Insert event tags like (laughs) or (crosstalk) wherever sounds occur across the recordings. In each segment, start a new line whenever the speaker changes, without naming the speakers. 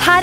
her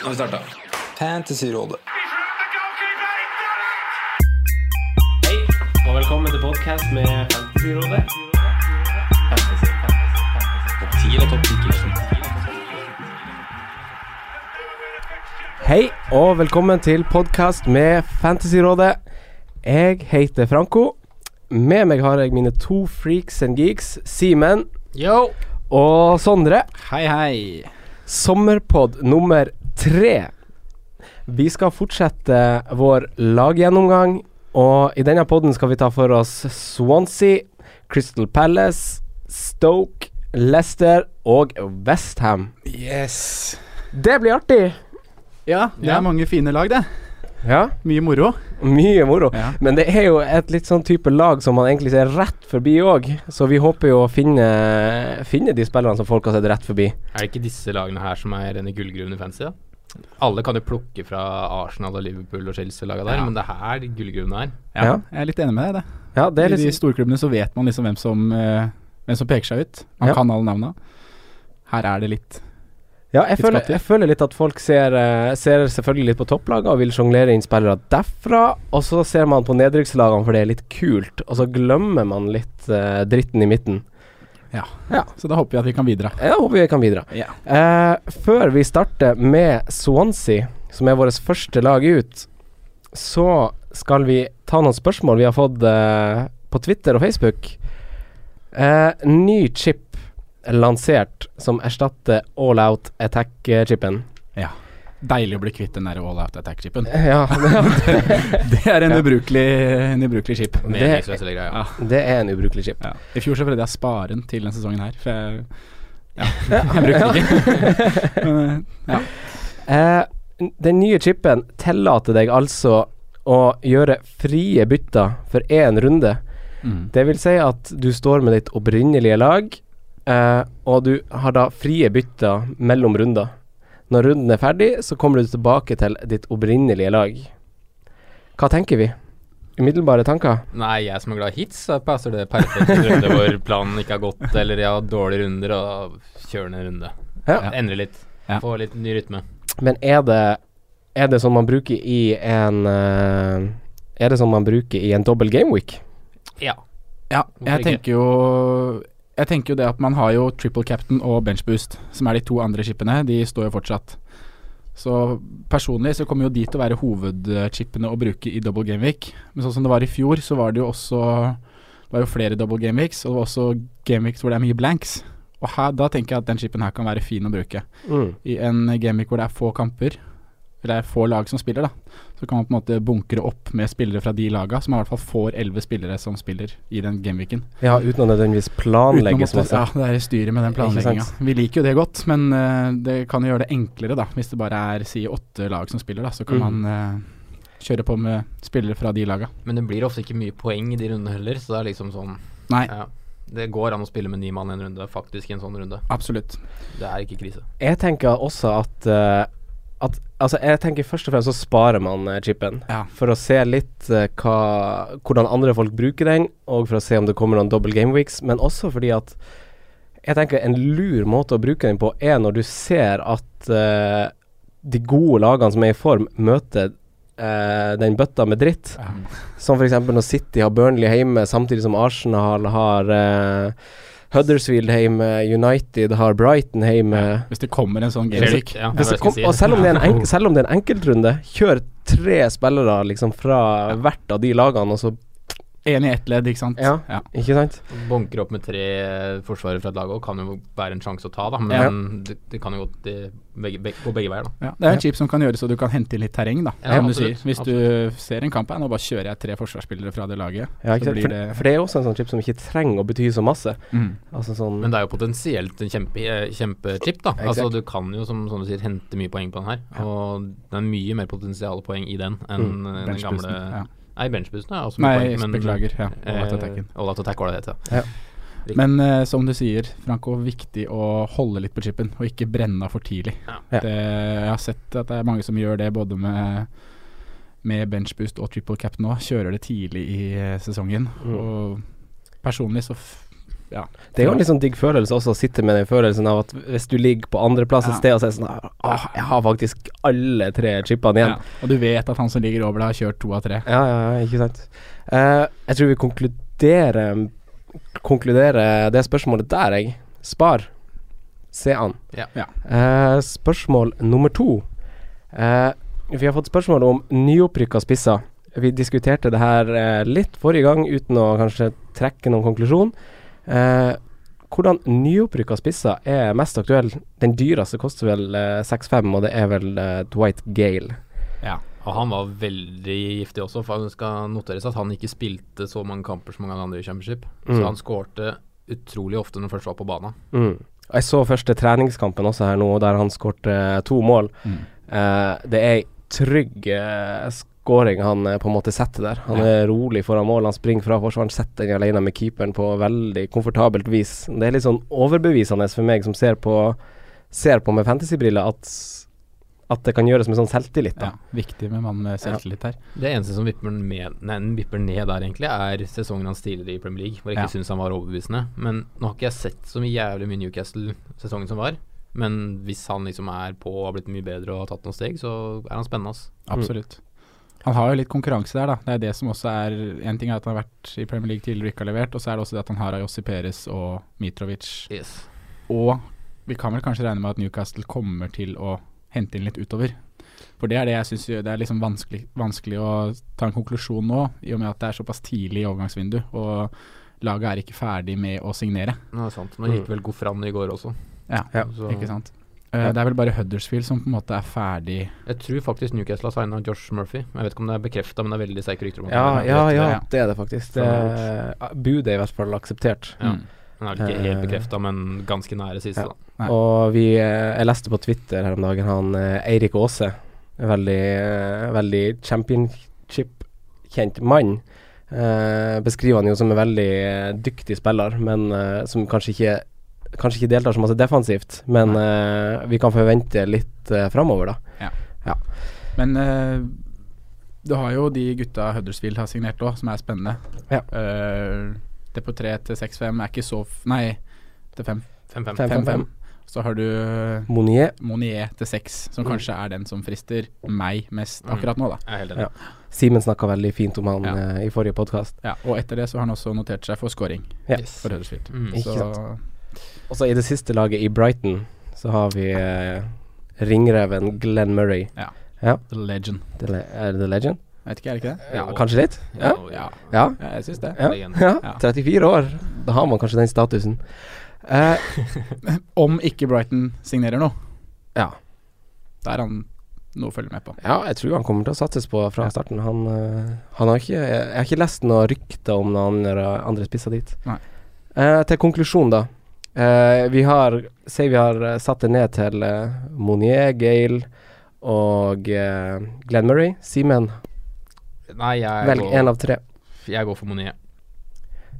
Nå har vi starta. Fantasyrådet.
Hei, og velkommen til podcast med Fantasyrådet. Fantasy, fantasy, fantasy. Topp 10 eller topp 10 Hei, og velkommen til podcast med Fantasyrådet. Jeg heter Franco. Med meg har jeg mine to freaks and geeks, Simen og Sondre.
Hei, hei.
Sommerpod nummer tre. Vi skal fortsette vår laggjennomgang, og i denne podden skal vi ta for oss Swansea, Crystal Palace, Stoke, Leicester og Westham.
Yes.
Det blir artig!
Ja, det er mange fine lag, det.
Ja,
Mye moro.
mye moro.
Ja.
Men det er jo et litt sånn type lag som man egentlig ser rett forbi òg, så vi håper jo å finne, finne de spillerne som folk har sett rett forbi.
Er det ikke disse lagene her som er rene gullgruvene i fantasy, da? Alle kan jo plukke fra Arsenal og Liverpool og Chelsea-laga der,
Ja.
men det er her gullgruvene er.
Ja,
Ja.
Jeg er litt enig med deg, det.
Ja, det er
I de
litt
storklubbene så vet man liksom hvem som, eh, hvem som peker seg ut. Man
Ja.
kan alle navna. Her er det litt
Ja, jeg
Litt
føler,
skvatt, ja.
jeg føler litt at folk ser, eh, ser selvfølgelig litt på topplagene og vil sjonglere inn spillere derfra, og så ser man på nedrykkslagene for det er litt kult, og så glemmer man litt eh, dritten i midten.
Så da håper vi at vi kan bidra.
Jeg håper vi kan bidra.
Ja.
Eh, før vi starter med Swansea, som er vårt første lag ut, så skal vi ta noen spørsmål vi har fått eh, på Twitter og Facebook. Eh, ny chip lansert som erstatter all out attack-chipen. (laughs)
Deilig å bli kvitt den der all out attack-chipen.
Ja,
Det er en ubrukelig, en ubrukelig chip.
Meningsløse greier. Ja.
det er en ubrukelig chip.
Ja. I fjor så prøvde jeg å spare den til denne sesongen her, for jeg, ja, (laughs) jeg brukte den ikke. Men, eh,
Eh, den nye chipen tillater deg altså å gjøre frie bytter for én runde.
Mm.
Det vil si at du står med ditt opprinnelige lag, eh, og du har da frie bytter mellom runder. Når runden er ferdig, så kommer du tilbake til ditt opprinnelige lag. Hva tenker vi? Umiddelbare tanker?
Nei, jeg som er glad i hits, så passer det perfekt i en runde hvor planen ikke har gått, eller jeg har dårlige runder, og kjører ned en runde.
Ja.
Endre litt.
Ja.
Få litt ny rytme.
Men er det, er det som man bruker i en eh, Er det som man bruker i en dobbel gameweek?
Ja.
Ja, jeg
ikke?
tenker jo Jeg tenker jo det at man har jo triple captain og bench boost, som er de to andre chipene. De står jo fortsatt. Så personlig så kommer jo de til å være hovedchipene å bruke i double game week. Men sånn som det var i fjor, så var det jo også Det var jo flere double game weeks, og det var også game weeks hvor det er mye blanks. Og her, da tenker jeg at den chipen her kan være fin å bruke.
Mm.
I en game week hvor det er få kamper, eller det er få lag som spiller, da, så kan man på en måte bunkre opp med spillere fra de laga, så man i hvert fall får elleve spillere som spiller i den gameweeken.
Ja, uten å nødvendigvis
Uten å
planlegge så
måtte-
masse.
Ja, det er styret med den
Ikke sant?
planlegginga. Vi liker jo det godt, men eh, det kan jo gjøre det enklere, da. Hvis det bare er si åtte lag som spiller, da, så kan
Mhm.
man eh, kjøre på med spillere fra de laga.
Men det blir ofte ikke mye poeng i de rundene heller, så det er liksom sånn
Nei,
ja. Det går an å spille med ni mann en runde, faktisk i en sånn runde.
absolutt.
Det er ikke krise.
Jeg tenker også at, eh, at Altså, jeg tenker først og fremst så sparer man eh, chipen.
Ja.
For å se litt eh, hva, hvordan andre folk bruker den, og for å se om det kommer noen double game weeks, men også fordi at jeg tenker en lur måte å bruke den på er når du ser at eh, de gode lagene som er i form, møter eh, den bøtta med dritt.
Ja.
Som f.eks. når City har Burnley hjemme, samtidig som Arsenal har eh, Huddersfield hjemme, United har Brighton hjemme.
Hvis det kommer en sånn gameweek.
Ja, jeg
Hvis
vet
det
ikke
kom,
si det.
og selv om, det er en
(laughs)
enk, selv om det er en enkeltrunde, kjør tre spillere liksom fra hvert av de lagene, og så
Én i ett ledd, ikke sant.
Ja. Ikke sant?
Bunker opp med tre forsvarere fra et lag òg kan jo være en sjanse å ta, da. Men det, det kan jo godt eh, begge, begge, gå begge veier, da.
Ja, Det er en chip som kan gjøre så du kan hente inn litt terreng, da.
Ja,
som du sier.
absolutt,
Hvis du ser en kamp her, nå bare kjører jeg tre forsvarsspillere fra det laget.
Ja, ikke
så
sant?
blir
For,
det
for det er også en sånn chip som ikke trenger å bety så masse.
Mm.
Altså sånn
Men det er jo potensielt en kjempe, eh, kjempechip, da. Altså Du kan jo, som, som du sier, hente mye poeng på den her. Og det er mye mer potensial poeng i den enn eh, den
Mm. benchboosten,
gamle
ja.
Nei, benchboosten er også mye
Nei,
poeng, men
beklager. Ja,
eh,
all attacken.
all at attack var det det het, ja.
Men eh, som du sier, Franco, viktig å holde litt på chipen, og ikke brenne av for tidlig.
Ja.
Det, jeg har sett at det er mange som gjør det, både med med benchboost og triple cap nå. Kjører det tidlig i eh, sesongen. Og personlig så f ja.
Det er jo en litt sånn digg følelse også, å sitte med den følelsen av at hvis du ligger på andreplass et
Ja.
sted og så er det sånn Åh, jeg har faktisk alle tre chipene
ja.
igjen.
Og du vet at han som ligger over deg, har kjørt to av tre.
Ja, ja, ja ikke sant. Eh, jeg tror vi konkluderer Konkluderer det spørsmålet der, jeg. Spar. Se an.
Ja.
Ja.
Eh, spørsmål nummer to. Eh, vi har fått spørsmål om nyopprykka spisser. Vi diskuterte det her eh, litt forrige gang, uten å kanskje trekke noen konklusjon. Eh, hvordan nyopprykka spisser er mest aktuell? Den dyreste koster vel eh, 6,5, og det er vel eh, Dwight Gale.
Og han var veldig giftig også, for det skal noteres at han ikke spilte så mange kamper som mange andre i Championship. Så
Mm.
han skårte utrolig ofte når han først var på banen.
Mm. Og Jeg så første treningskampen også her nå, der han skårte eh, to mål. Eh, det er ei trygg eh, skåring han eh, på en måte setter der. Han er rolig foran mål, han springer fra forsvareren, setter den alene med keeperen på veldig komfortabelt vis. Det er litt sånn overbevisende for meg som ser på, ser på med fantasybriller, at, at det kan gjøres med sånn selvtillit.
Ja,
Da.
viktig med mann med selvtillit her.
Det eneste som vipper, den med, nei, den vipper ned der, egentlig, er sesongen hans tidligere i Premier League, hvor jeg
Ja.
ikke syns han var overbevisende. Men nå har ikke jeg sett så mye jævlig mye Newcastle-sesongen som var. Men hvis han liksom er på og har blitt mye bedre og har tatt noen steg, så er han spennende. ass.
Absolutt. Mm. Han har jo litt konkurranse der, da. Det er det som også er En ting er at han har vært i Premier League tidligere og ikke har levert, og så er det også det at han har Ayossi Perez og Mitrovic.
Yes.
Og vi kan vel kanskje regne med at Newcastle kommer til å hente inn litt utover. For det er det jeg syns det er liksom vanskelig, vanskelig å ta en konklusjon nå, i og med at det er såpass tidlig i overgangsvindu, og laget er ikke ferdig med å signere.
Nå er det sant.
Mm.
Nå gikk vel Gofran i går også.
Ja,
Ja.
Så
ikke sant. Eh, Det er vel bare Huddersfield som på en måte er ferdig
jeg tror faktisk Newcastle har signa Josh Murphy. Jeg vet ikke om det er bekrefta, men det er veldig sterke rykter om at
Ja,
han er
ja,
rett i
ja,
det.
det er det faktisk. Det, eh, budet er i hvert fall akseptert.
Ja. Han er vel ikke helt
Eh,
bekrefta, men ganske nære siste,
ja.
da.
Nei.
Og vi, eh, jeg leste på Twitter her om dagen han eh, Eirik Aase, en veldig, eh, veldig championship-kjent mann, eh, beskriver han jo som en veldig eh, dyktig spiller, men eh, som kanskje ikke, kanskje ikke deltar så masse defensivt. Men eh, vi kan forvente litt eh, framover, da.
Men eh, du har jo de gutta Huddersfield har signert òg, som er spennende.
Ja.
Eh, det på 3 til 6-5 er ikke så f Nei, til 5.
5-5.
5-5.
5-5.
Så har du eh,
Monier.
Monier til 6, som kanskje er den som frister meg mest akkurat nå, da.
Jeg er helt enig.
Ja. Simen snakka veldig fint om han
Ja.
eh, i forrige podkast.
Ja, og etter det så har han også notert seg for scoring
Ja.
Yes.
for Huddersfield.
Mm.
Ikke
Så
Og så i det siste laget, i Brighton, så har vi eh, ringreven Glenn Murray.
The Legend.
The le- Er det The Legend?
Jeg vet ikke, er det ikke det?
Ja,
Jo.
kanskje litt? Ja.
Og- ja.
ja.
Ja, jeg syns det.
Ja.
Legend.
ja.
Ja.
34 år. Da har man kanskje den statusen. Eh,
Om ikke Brighton signerer noe,
ja.
da er han noe å følge med på.
ja, jeg tror han kommer til å satses på fra starten. Han, eh, han har ikke Jeg har ikke lest noe rykte om noen andre, andre spisser dit.
Nei.
Eh, til konklusjon, da. Eh, vi har Si vi har eh, satt det ned til eh, Monier, Gale og eh, Glenn Murray. Simen,
Nei, jeg,
velg
går,
én av tre.
jeg går for Monier.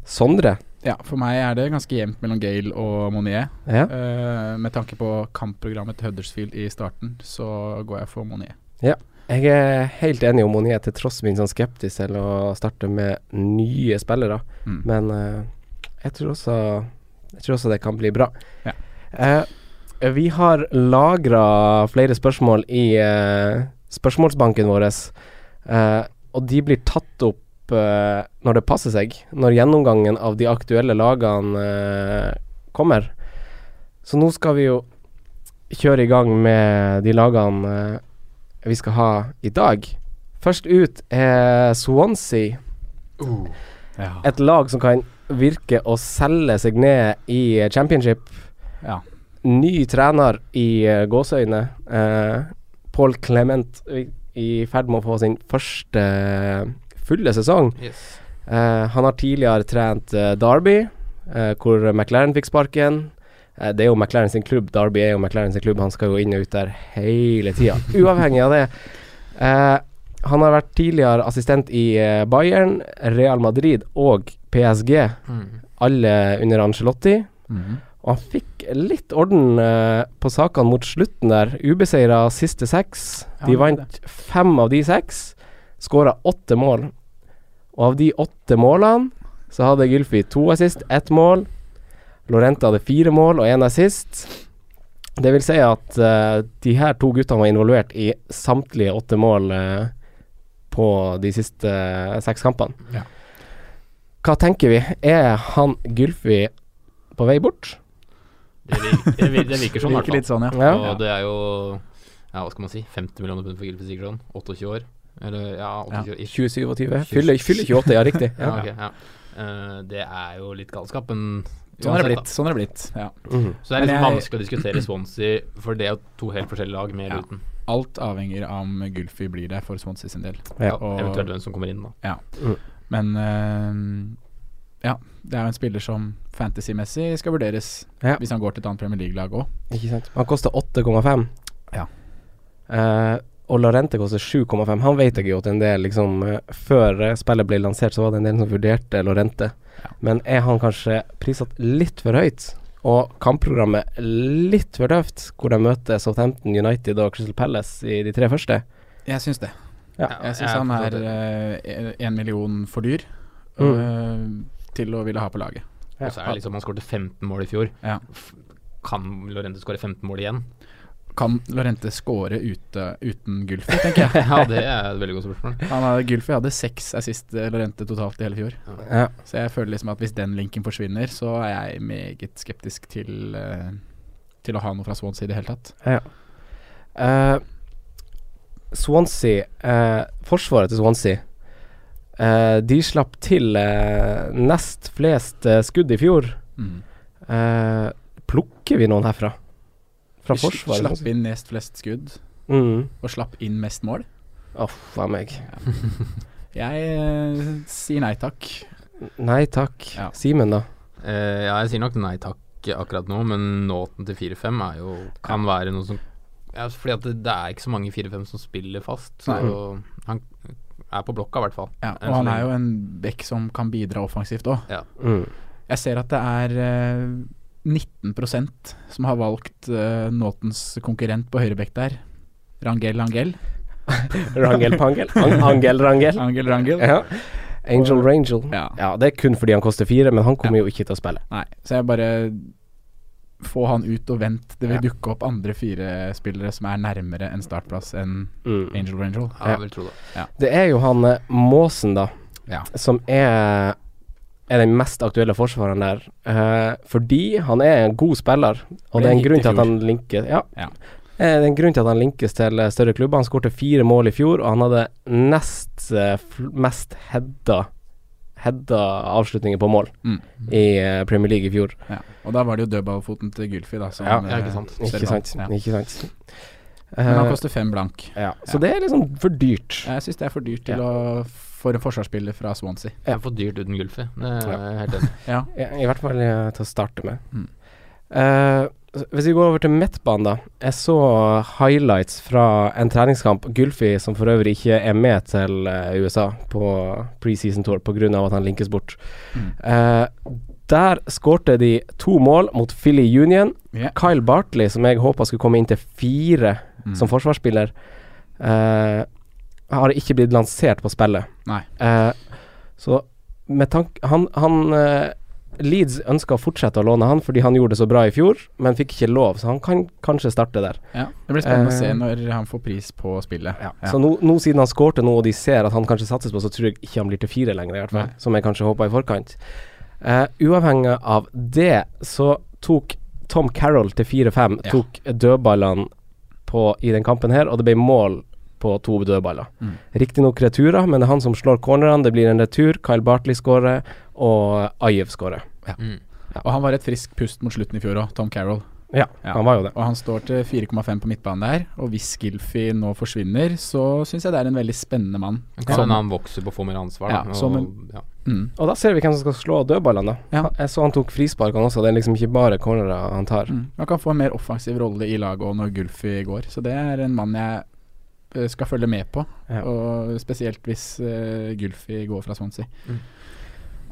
Sondre.
Ja, for meg er det ganske jevnt mellom Gale og Monier.
Ja.
Eh, med tanke på kampprogrammet til Huddersfield i starten, så går jeg for Monier.
Jeg er helt enig om Monier, til tross min sånn skeptisk til å starte med nye spillere.
Mm.
Men eh, jeg, tror også, jeg tror også det kan bli bra.
Ja.
Eh, vi har lagra flere spørsmål i eh, spørsmålsbanken vår, eh, og de blir tatt opp opp eh, når det passer seg, når gjennomgangen av de aktuelle lagene eh, kommer. Så nå skal vi jo kjøre i gang med de lagene eh, vi skal ha i dag. Først ut er Swansea. Et lag som kan virke å selge seg ned i championship.
Ja.
Ny trener i eh, gåseøyne. Eh, Paul Clement i i ferd med å få sin første eh, fulle sesong.
Yes.
Eh, han har tidligere trent eh, Derby, eh, hvor McLaren fikk sparken. Eh, det er jo McLaren sin klubb, Derby er jo McLaren sin klubb, han skal jo inn og ut der hele tida.
(laughs)
Uavhengig av det. Eh, han har vært tidligere assistent i eh, Bayern, Real Madrid og PSG,
Mm.
alle under Angelotti.
Mm.
Og han fikk litt orden eh, på sakene mot slutten der. Ubeseira siste seks.
Ja,
De
det er
vant fem av de seks. Skåra åtte mål. Og av de åtte målene så hadde Gylfi to assist, ett mål. Lorente hadde fire mål og én assist. Det vil si at eh, de her to guttene var involvert i samtlige åtte mål eh, på de siste eh, seks kampene.
Ja.
Hva tenker vi? Er han Gylfi på vei bort?
Det, virker, det, virker, det virker sånn, i hvert
Virker
fall.
litt sånn, ja.
Ja.
Og det er jo Ja, hva skal man si 50 millioner pund for Gylfi Sigurdsson. 28 år. Eller ja, 28 år.
27 og 20. Fyller, fyller 28, ja, riktig.
(laughs) Ja,
Ja.
ok, ja. Eh, det er jo litt galskap, men
Sånn er det
uansett,
blitt. Sånn er det blitt. Ja.
Mhm.
da. Så det er litt
Men jeg-
vanskelig å diskutere (clears throat) Swansea, for det er jo to helt forskjellige lag med
Ja.
eller uten.
Alt avhenger av om Gulfi blir der for Swansea sin del.
Ja.
Og-
Eventuelt hvem som kommer inn, da.
Men eh, ja, det er jo en spiller som fantasymessig skal vurderes
Ja.
hvis han går til et annet Premier League-lag òg.
Ikke sant. Han koster 8,5.
Ja.
Eh, og Larente koster 7,5. Han vet jeg jo at en del liksom eh, Før eh, spillet ble lansert, så var det en del som vurderte Lorente. Men er han kanskje prissatt litt for høyt? Og kampprogrammet litt for tøft, hvor de møter Southampton United og Crystal Palace i de tre første?
Jeg syns det.
Ja.
Jeg syns han
forstår
er
det.
eh, en million for dyr eh, til å ville ha på laget.
Og så er det liksom Han skåret 15 mål i fjor.
Ja.
F- Kan Lorente skåre 15 mål
(laughs)
igjen?
Kan Lorente score ute, uten Gulfi, tenker jeg.
Ja, det er et veldig godt spørsmål.
Han hadde, Gulfi hadde seks assist eh, Lorente totalt i hele fjor.
Ja.
Så jeg føler liksom at hvis den linken forsvinner, så er jeg meget skeptisk til, eh, til å ha noe fra Swansea i det hele tatt.
Eh, Swansea eh, Forsvaret til Swansea eh, De slapp til eh, nest flest eh, skudd i fjor.
Mm.
Eh, plukker vi noen herfra? Fra
Vi sl-
forsvaret?
Slapp inn nest flest skudd,
Mm.
og slapp inn mest mål.
Åh, faen meg.
Jeg eh, sier nei takk.
Nei takk.
Ja.
Simen, da?
Eh, ja, jeg sier nok nei takk akkurat nå, men Nåten til 4-5 er jo kan være noe som ja, Fordi at det, det er ikke så mange 4-5 som spiller fast. Så han er på blokka, i hvert fall.
Ja,
Enn
og
så
han
lenge.
er jo en bekk som kan bidra offensivt òg.
Mm.
Jeg ser at det er eh, 19 som har valgt eh, Nåtens konkurrent på høyrebekk der. Rangel, Angel.
Rangel Pangel? Ang Angel Rangel?
Angel, Rangel.
Ja. Angel Rangel.
Ja.
Ja, det er kun fordi han koster fire, men han kommer jo ikke til å spille.
Nei, så jeg bare Få han ut og vent. Det vil
Ja.
dukke opp andre fire spillere som er nærmere en startplass enn
Mm.
Angel Rangel.
Ja, jeg vil tro det.
Det er jo han eh, Måsen, da.
Ja.
som er er den mest aktuelle forsvareren der. Eh, fordi han er en god spiller, og
Ble
det er en
hit
grunn
i
til at
fjor.
han linker ja.
Ja.
Eh, Det er en grunn til at han linkes til eh, større klubber. Han skårte fire mål i fjor, og han hadde nest eh, fl- mest heada Hedda avslutninger på mål
Mm.
i eh, Premier League i fjor.
Ja. Og da var det jo dødballfoten til Gylfi, da. Som,
Ja,
ja, ikke
eh,
sant.
selv
Ikke sant?
vant. Ja.
Ikke sant?
Men han
Eh,
koster fem blank.
ja. Så det er liksom for dyrt.
Jeg syns det er for dyrt til
Ja.
å for en forsvarsspiller fra Swansea.
Det er for dyrt uten Gulfi. Det er jeg helt enig. i.
Ja.
Ja, I hvert fall eh, til å starte med.
Mm.
Eh, hvis vi går over til midtbanen, da. Jeg så highlights fra en treningskamp. Gulfi, som for øvrig ikke er med til eh, USA på preseason tour pga. at han linkes bort.
Mm.
Eh, der skårte de to mål mot Philly Union.
Ja.
Kyle Bartley, som jeg håpa skulle komme inn til fire
Mm.
som forsvarsspiller, eh, har ikke blitt lansert på spillet.
Nei.
Eh, så med tanke Han, han eh, Leeds ønska å fortsette å låne han fordi han gjorde det så bra i fjor, men fikk ikke lov, så han kan kanskje starte der.
Ja, det blir spennende å se
Eh, sånn,
når han får pris på spillet. Ja,
Så nå, nå siden han skårte nå, og de ser at han kanskje satses på, så tror jeg ikke han blir til fire lenger, i hvert fall.
Nei.
Som jeg kanskje håpa i forkant. Eh, uavhengig av det, så tok Tom Carroll til 4-5
Ja.
tok dødballene på, i den kampen her, og det ble mål på to dødballer.
Mm.
Riktignok returer, men det er han som slår cornerne. Det blir en retur. Kyle Bartley skårer, og Ajev skårer.
Mm.
Og han var et friskt pust mot slutten i fjor òg, Tom Carroll.
Ja,
Ja.
han var jo det.
Og han står til 4,5 på midtbanen der. Og hvis Gilfy nå forsvinner, så syns jeg det er en veldig spennende mann.
Det Kan
Som-
hende han vokser på å få mer ansvar.
Ja,
Da,
som
og, ja.
Mm.
Og da ser vi hvem som skal slå dødballene, da.
Ja.
Jeg så han tok frisparkene også, det er liksom ikke bare cornerer han tar.
Mm. Han kan få en mer offensiv rolle i laget òg når Gulfi går. Så det er en mann jeg eh, skal følge med på,
Ja.
og spesielt hvis eh, Gulfi går fra Swansea.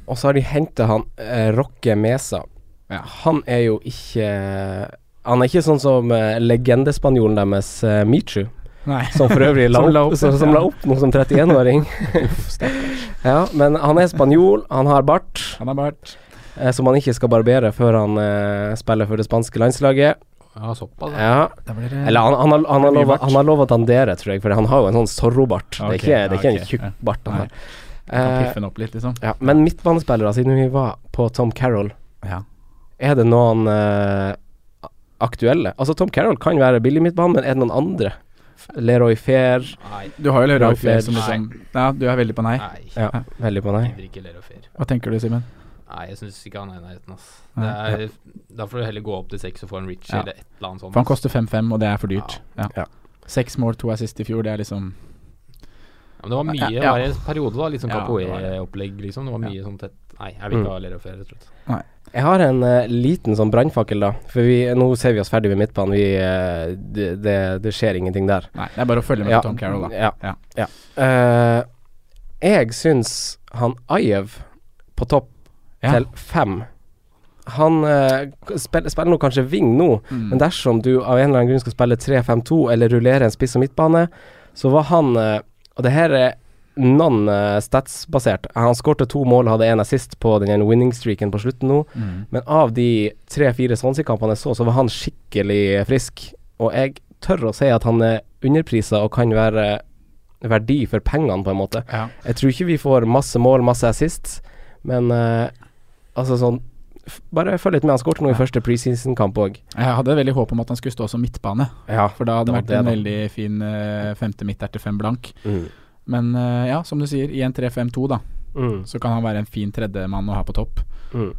Og så har de henta han eh, Rocke Mesa.
Ja.
Han er jo ikke Han er ikke sånn som eh, legendespanjolen deres eh, Michu,
Nei.
som for
(laughs)
øvrig la
Som
opp,
la opp,
som, som
ja.
la opp noe som
(laughs)
31-åring. (laughs) ja, men han er spanjol, han har bart,
Han har vært
eh, som han ikke skal barbere før han eh, spiller for det spanske landslaget.
ja, såpass. da.
Ja.
Da blir det
Eller han, han, har- han, har
Det blir
lov,
bart.
han har lov å dandere, tror jeg, for han har jo en sånn Zorro-bart.
Ok,
det er ikke, det er ikke
ja, ok,
en tjukk bart han
Nei.
har.
Kan
Eh,
piffe den opp litt, liksom.
ja, men midtbanespillere, siden vi var på Tom Carroll
Ja.
Er det noen eh, aktuelle? Altså Tom Carroll kan være billig midtbane, men er det noen andre? F- Leroy Fair
Du har jo Leroy
Ralf
Fair som
Edge.
liksom Ja, du er veldig på nei.
Nei, jeg
Ja, veldig på nei.
gidder ikke Lerofer.
Hva tenker du, Simen?
Nei, jeg syns ikke han er i nærheten, ass. Det
Nei.
er, da får du heller gå opp til seks og få en Richie
Ja.
eller et eller annet sånt.
For han koster 5-5, og det er for dyrt. Ja.
Ja.
Seks mål, to assist i fjor, det er liksom
Ja, men det var mye
Ja,
det
ja.
var en periode, da. Litt sånn
Ja, det var det.
Capoe-opplegg, liksom. Det var mye sånn tett Nei, jeg vil
Mm.
ikke ha Lerofer, rett og slett.
Jeg har en eh, liten sånn brannfakkel, da. For vi, nå ser vi oss ferdig med midtbanen. Vi, eh, det, det, det skjer ingenting der.
Nei, det er bare å følge med på Tom Carroll,
Ja.
da. Ja.
ja. Eh, jeg syns han Ajev på topp
Ja.
til fem Han eh, spill, spiller nå kanskje wing nå, men dersom du av en eller annen grunn skal spille 3-5-2 eller rullere en spiss og midtbane, så var han eh, Og det her er non-stats-basert. Han skårte to mål og hadde én assist på den ene winning streaken på slutten nå, men av de tre-fire Swansea-kampene jeg så, så var han skikkelig frisk. Og jeg tør å si at han er underprisa og kan være verdi for pengene, på en måte.
Ja.
Jeg tror ikke vi får masse mål, masse assists, men eh, altså sånn f- Bare følg litt med. Han skåret nå i første preseason-kamp òg.
Jeg hadde veldig håp om at han skulle stå som midtbane,
Ja.
for da hadde
Det
det vært
var
en
det,
veldig fin eh, femte midt der til fem blank.
Mm.
Men eh, ja, som du sier, i en 3-5-2, da,
Mm.
så kan han være en fin tredjemann å ha på topp.
Mm.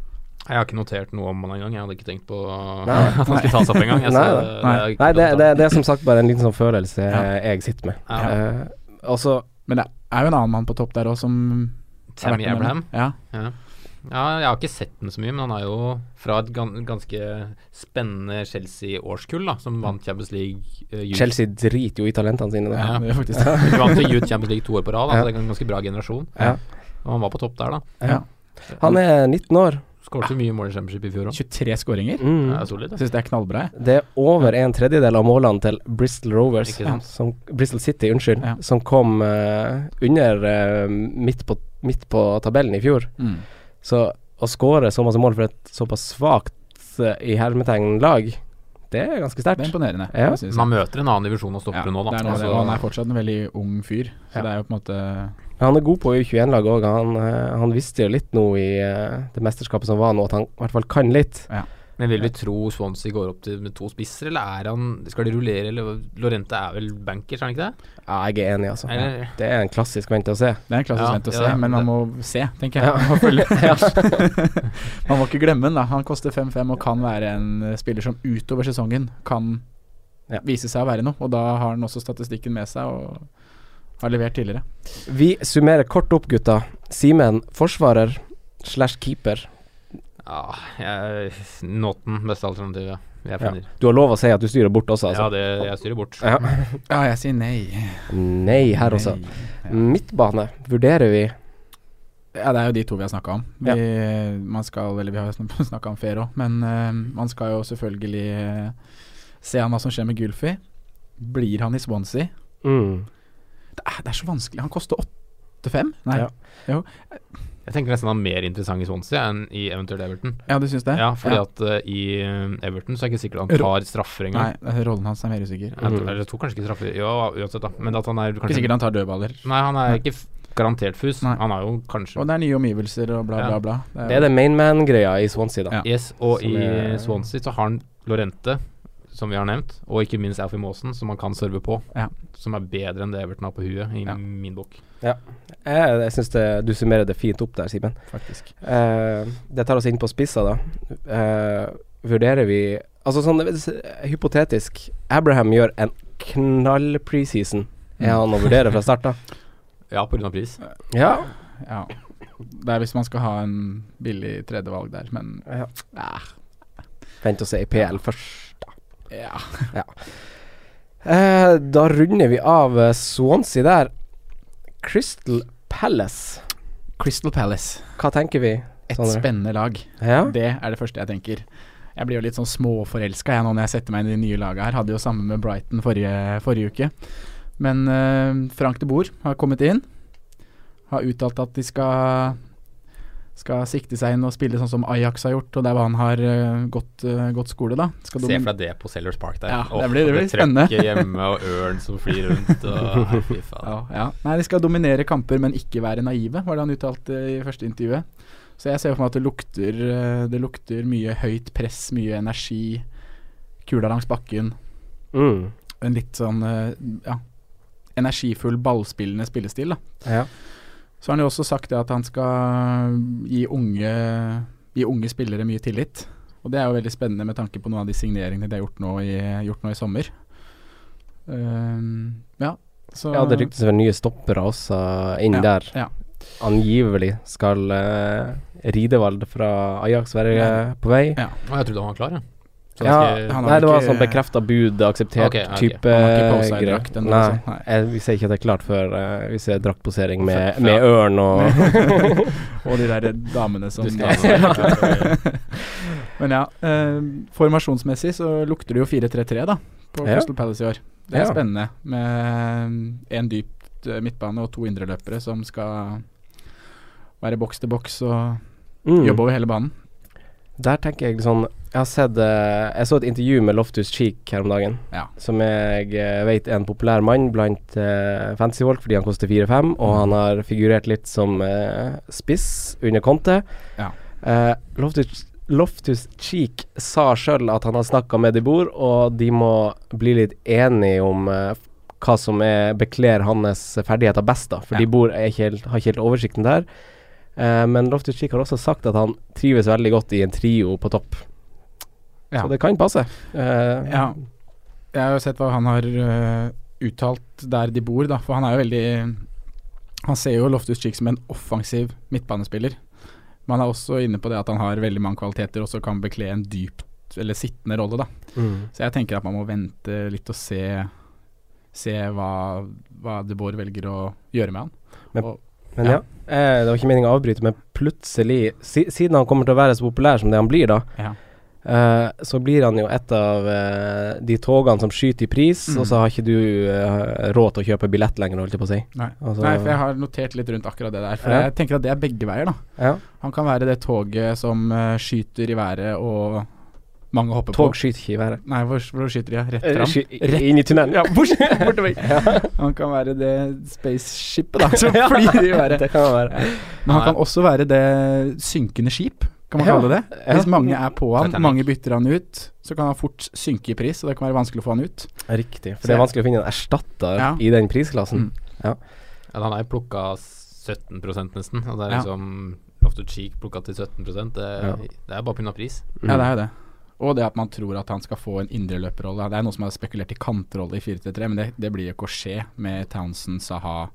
Jeg har ikke notert noe om han engang. Jeg hadde ikke tenkt på uh,
Nei.
(laughs) at han skulle tas opp engang. Jeg
Nei,
så eh,
nei.
altså,
Nei.
det- det
Nei, det,
er ikke
det,
noe
det er som sagt bare en liten sånn følelse
Ja.
jeg sitter med.
Ja.
Eh, og så
Men det er jo en annen mann på topp der òg som
å ta. Tammy
har vært med.
Abraham.
Ja.
Ja. ja, jeg har ikke sett den så mye, men han er jo fra et gan ganske spennende Chelsea-årskull, da, som vant Champions League eh, youth. (laughs)
Chelsea driter jo i talentene sine. Da.
ja,
Ja.
det er faktisk det.
De vant til Youth Champions League to år på rad, da,
Ja.
så det er en ganske bra generasjon.
Ja.
Og han var på topp der, da.
Ja.
Han er 19 år.
Skåret mye mål i Championship i fjor òg.
23 skåringer.
Mm.
Ja, solid.
Jeg
da.
syns det er knallbra, jeg.
Det er over en tredjedel av målene til Bristol Rovers,
Ikke sant.
som, Bristol City, unnskyld,
Ja.
som kom eh, under eh, midt, på, midt på tabellen i fjor.
Mm.
Så å skåre så masse mål for et såpass svakt eh, i hermetegn lag, det er ganske
Det er
sterkt.
imponerende.
Ja.
det synes jeg.
Men han møter en annen divisjon og
Ja,
stopper nå, da.
det er noe med det.
Altså,
Og han er fortsatt en veldig ung fyr, så
Ja.
det er jo på en måte
Han er god på U21-lag òg. Han, eh, han visste jo litt nå i eh, det mesterskapet som var nå, at han i hvert fall kan litt.
Men vil vi tro Swansea går opp til med to spisser, eller er han Skal de rullere, eller Lorente er vel bankers, er han ikke det?
Ja, jeg er enig, altså.
Eller,
Det er en klassisk vente og se.
Det er en klassisk
Ja,
vent å
ja,
se,
det er
men man må se, tenker jeg. Man, må
(laughs)
følge. man må ikke glemme den, da. Han koster 5-5 og kan være en eh, spiller som utover sesongen kan
Ja.
vise seg å være noe. Og da har han også statistikken med seg og har levert tidligere.
Vi summerer kort opp, gutta. Simen, forsvarer slash keeper.
ja, jeg, Nåten, beste alternativet. Jeg
Ja.
finner.
Du har lov å si at du styrer bort også,
Ja,
altså.
det, jeg styrer bort.
Ja.
Ja, jeg sier nei.
Nei, her også.
Nei.
Midtbane vurderer vi.
Ja, det er jo de to vi har snakka om. Vi, man skal, eller vi har (laughs) jo snakka om Fer òg, men eh, man skal jo selvfølgelig eh, se an hva som skjer med Gulfi. Blir han i Swansea?
Mm.
Det er, det er så vanskelig. Han koster 8-5? Nei.
Ja.
Jo.
Jeg tenker nesten han er mer interessant i Swansea enn i eventuelt Everton.
Ja, du syns det?
Ja, fordi
Ja.
at eh, i eh, Everton så er jeg ikke sikkert han tar straffer
Nei,
engang.
rollen hans er mer usikker.
Jeg tror- eller Jeg tror kanskje ikke straffer Ja, uansett, da. Men at han er
Ikke
kanskje
sikkert han tar dødballer.
Nei, han er ikke f- garantert fus.
Nei.
Han er jo kanskje
Og det er nye omgivelser og bla,
Ja.
bla, bla.
Det er det mainman-greia i Swansea, da.
Ja.
Yes, og
Som
i
er-
Swansea så har han Lorente, som vi har nevnt, og ikke minst Alfie Maasen, som han kan serve på.
Ja.
Som er bedre enn det Everton har på huet, i
Ja.
min bok.
Jeg, Eh, jeg syns du summerer det fint opp der, Simen.
faktisk.
Eh, det tar oss inn på spissa, da. Eh, vurderer vi Altså sånn eh, hypotetisk, Abraham gjør en knall preseason. Er han å vurdere fra start, da?
Ja, pga. pris.
Ja.
Ja. Det er hvis man skal ha en billig tredjevalg der, men
Ja.
Ah,
Vent og se i PL først.
ja.
(laughs) Eh, da runder vi av eh, Swansea der. Crystal Palace,
Crystal Palace.
hva tenker vi?
Et
Sånn
Sondre?
spennende lag.
Ja?
Det er det første jeg tenker. Jeg blir jo litt sånn småforelska jeg nå når jeg setter meg inn i de nye laga her. Hadde jo samme med Brighton forrige, forrige uke. Men eh, Frank de Boer har kommet inn. Har uttalt at de skal skal sikte seg inn og spille sånn som Ajax har gjort, og der hvor han har eh, gått, eh, gått skole, da. Skal
Se
domin-
for deg det på Sellers Park der.
Ja,
Åh,
det blir- det blir
trøkket
spennende.
hjemme, og ørn som flyr rundt,
(laughs)
og Nei, fy faen.
Ja, ja. Nei, de skal dominere kamper, men ikke være naive, var det han uttalte i første intervjuet. Så jeg ser for meg at det lukter, eh, det lukter mye høyt press, mye energi. Kula langs bakken.
Mm.
En litt sånn eh, ja, energifull, ballspillende spillestil. Da.
ja.
Så har han jo også sagt det at han skal gi unge, gi unge spillere mye tillit. Og det er jo veldig spennende med tanke på noen av de signeringene de har gjort nå i, gjort nå i sommer. Ehm, ja, så
Ja, det ryktes vel nye stoppere også inn
Ja,
der.
ja.
Angivelig skal eh, Ridevald fra Ajax være eh, på vei.
Ja,
Å, jeg trodde han var klar, jeg. Så
Ja,
ganske-
han har
nei, det var
ikke-
sånn bekrefta bud, akseptert
Ok, ok.
type
Han har ikke på seg
greier.
drakt ennå,
Nei,
altså. Nei.
jeg, vi ser ikke at det er klart før eh, vi ser draktposering med,
Før-
med ørn og
Og de der damene som
Du skal være klar.
(laughs) Men ja, eh, formasjonsmessig så lukter det jo 4-3-3 da på
Ja.
Crystal Palace i år. Det er
Ja.
spennende med en dypt eh, midtbane og to indreløpere som skal være boks til boks og
Mm.
jobbe over hele banen.
Der tenker jeg sånn Jeg har sett eh, Jeg så et intervju med Loftus Cheek her om dagen,
Ja.
som jeg eh, vet er en populær mann blant eh, fantasyfolk fordi han koster 4-5, og
Mm.
han har figurert litt som eh, spiss under Conte.
Ja.
Eh, Loftus, Loftus Cheek sa sjøl at han har snakka med de bor, og de må bli litt enige om eh, hva som er, bekler hans ferdigheter best, da. For
Ja.
de bor er ikke helt, har ikke helt oversikten der. Eh, men Loftus Cheek har også sagt at han trives veldig godt i en trio på topp.
Ja.
Så det kan passe. Eh,
Ja. Jeg har jo sett hva han har eh, uttalt der de bor, da. For han er jo veldig Han ser jo Loftus Cheek som en offensiv midtbanespiller. Men han er også inne på det at han har veldig mange kvaliteter og så kan bekle en dypt eller sittende rolle, da.
mm.
Så jeg tenker at man må vente litt og se Se hva, hva De Boer velger å gjøre med han.
Men-
og,
Men ja, eh, det var ikke meningen å avbryte, men plutselig, si, siden han kommer til å være så populær som det han blir da,
Ja.
eh, så blir han jo et av eh, de togene som skyter i pris,
Mm.
og så har ikke du eh, råd til å kjøpe billett lenger, holdt jeg på å si.
nei.
Altså-
nei, for jeg har notert litt rundt akkurat det der. For
Ja.
jeg tenker at det er begge veier, da.
Ja.
Han kan være det toget som eh, skyter i været og mange hopper
Tog
på.
skyter ikke i været.
Nei, hvor, hvor skyter de? ja? Rett
Eh,
fram?
sky- Inn i tunnelen. Ja, bort, (laughs) bortover.
Han kan være det spaceshipet (laughs) da,
Altså,
som flyr i været.
Det kan det være.
Men han kan også være det synkende skip, kan man
Ja.
kalle det.
Ja.
Hvis mange er på han,
Titanic.
mange bytter han ut, så kan han fort synke i pris, og det kan være vanskelig å få han ut.
Riktig, for det er vanskelig å finne en erstatter
Ja.
i den prisklassen.
Ja, han er plukka 17 nesten, og det er
Ja.
liksom Loftus Cheek plukka til 17 det,
Ja.
det er bare pga. pris.
Mhm.
Ja, det er jo det. Og det at man tror at han skal få en indreløperrolle. Det er noen som har spekulert i kantrolle i 4-3-3, men det, det blir jo ikke å skje med Townsend, Saha,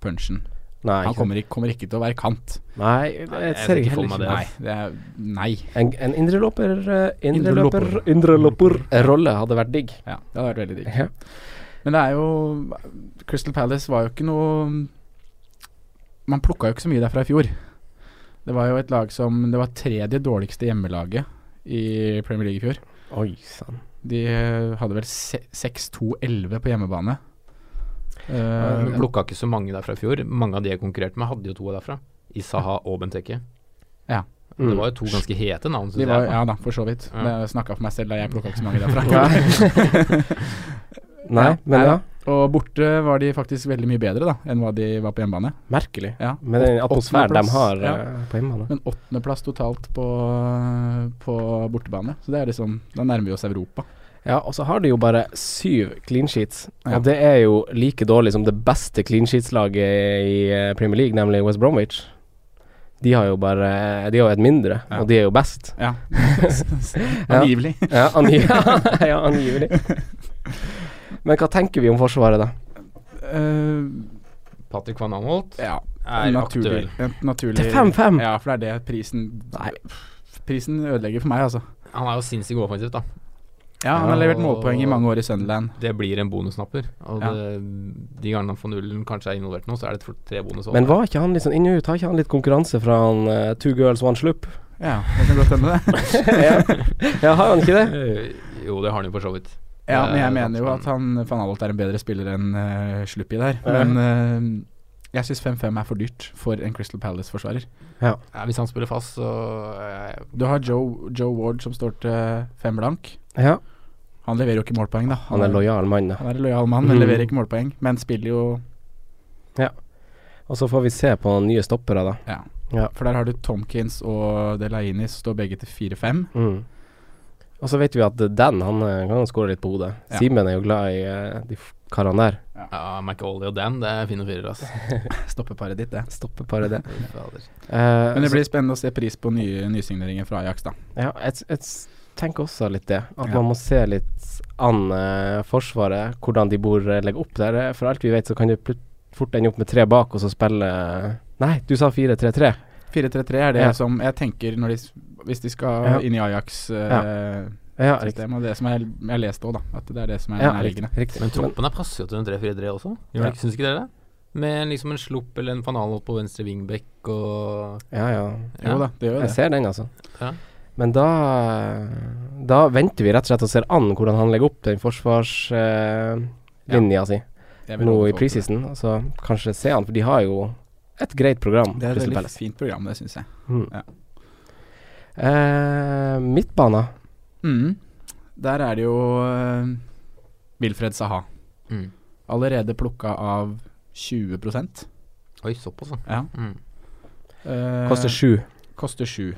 Punchen.
Nei,
Han
ikke sant.
kommer ikke, kommer ikke til å være kant.
Nei, jeg
jeg
ser
ser
ikke
ikke for
heller
meg
ikke
Nei,
det.
det er Nei.
En, en indreløper eh,
Indreløper.
indreløper- Indreløper-rolle hadde vært digg.
Ja, det hadde vært veldig digg.
Ja.
Men det er jo Crystal Palace var jo ikke noe Man plukka jo ikke så mye derfra i fjor. Det var jo et lag som Det var tredje dårligste hjemmelaget i Premier League i fjor.
Oi sann.
De eh, hadde vel se- 6-2-11 på hjemmebane. Eh,
Eh, Men plukka ikke så mange derfra i fjor. Mange av de jeg konkurrerte med, hadde jo to derfra. Isaha og Benteke.
Ja.
Det var jo to ganske hete navn,
De
synes
var,
jeg.
ja da, for så vidt.
Ja.
Men Jeg snakka for meg selv da jeg plukka ikke
(laughs)
så mange derfra.
Nei, men ja.
Og borte var de faktisk veldig mye bedre da enn hva de var på hjemmebane.
Merkelig.
Ja.
Med den
Åt-
atmosfæren de
åttendeplass.
har
Ja.
eh, på hjemmebane.
Men åttendeplass totalt på, på bortebane. Så det er liksom Da nærmer vi oss Europa.
Ja, og så har de jo bare syv clean sheets,
Ja.
og det er jo like dårlig som det beste clean sheets-laget i eh, Premier League, nemlig West Bromwich. De har jo bare De har jo et mindre,
Ja.
og de er jo best.
(laughs) Ja. Angivelig.
Ja, (laughs) angi ja, angivelig. Men hva tenker vi om Forsvaret, da?
Eh,
Patrick van Anholt
ja.
er
naturlig.
aktuell.
En naturlig
Til 5-5!
Ja, for det er det prisen
Nei.
Prisen ødelegger for meg, altså.
Han er jo sinnssykt god offensivt, da.
Ja, han har
Ja.
levert målpoeng i mange år i Sunderland.
Det blir en bonusnapper. Og
Ja.
det, de gangene han får nullen kanskje er involvert nå, så er det tre bonus.
Men var ikke han litt sånn inn og ut? Har ikke han litt konkurranse fra han eh, Two Girls One Slup?
Ja, det kan godt hende, (laughs) det.
ja, Ja, har han ikke det?
Eh, Jo, det har han jo for så vidt. Eh,
Ja,
Det
men
er
jeg mener jo
sant,
at han van Alolt er en bedre spiller enn uh, Sluppi der. Men eh, jeg syns 5-5 er for dyrt for en Crystal Palace-forsvarer.
Ja, hvis han spiller fast, så eh,
Du har Joe, Joe Ward som står til fem blank.
Ja.
Han leverer jo ikke målpoeng, da.
Han er lojal mann, da.
Han er en lojal mann, men
Mm.
leverer ikke målpoeng. Men spiller jo
Og så får vi se på nye stoppere, da.
Ja.
Ja.
For der har du Tomkins og Delaini som står begge til 4-5.
(laughs) Mm. Og så vet vi at Dan han eh, kan skåre litt på hodet.
Ja.
Simen er jo glad i eh, de f- karene der.
ja, McAuley og Dan, det er fine firere,
(laughs)
altså.
Stoppeparet ditt, det.
Stopper bare det.
Fy fader.
Eh,
Men det blir spennende å se pris på nye nysigneringer fra Ajax, da.
så, ja, jeg, s- jeg s- tenker også litt det. At
Ja.
man må se litt an eh, Forsvaret, hvordan de bor eh, legger opp der. For alt vi vet, så kan det plut- fort ende opp med tre bak, og så spille eh, Nei, du sa 4-3-3.
4-3-3 er det
Ja.
som jeg tenker når de, s- hvis de skal
Ja.
inn i Ajax-systemet,
Ja, riktig.
og det som jeg, jeg leste òg, da. At det er det som er
Ja,
nærliggende.
riktig.
Men troppen her passer jo til en 3-4-3 også,
Ja.
Gjør det ikke- syns ikke dere det? Med liksom en slupp eller en fanal på venstre vingbekk og
ja, ja.
Ja.
Jo da, det gjør jo
Jeg
det.
ser den, altså.
Ja.
Men da Da venter vi rett og slett og ser an hvordan han legger opp den forsvarslinja si
Jeg vil
nå
råde
i
folk til det.
preseason. og Så kanskje se han, for de har jo et greit program.
Det er et
Crystal
veldig
Palace.
fint program, det syns jeg.
Mm.
ja.
Eh, midtbana.
Mm. Der er det jo uh, Wilfred Saha.
Mm.
Allerede plukka av 20
Oi, såpass, da.
Ja.
Mm.
Eh,
Koster sju.
Koster 7.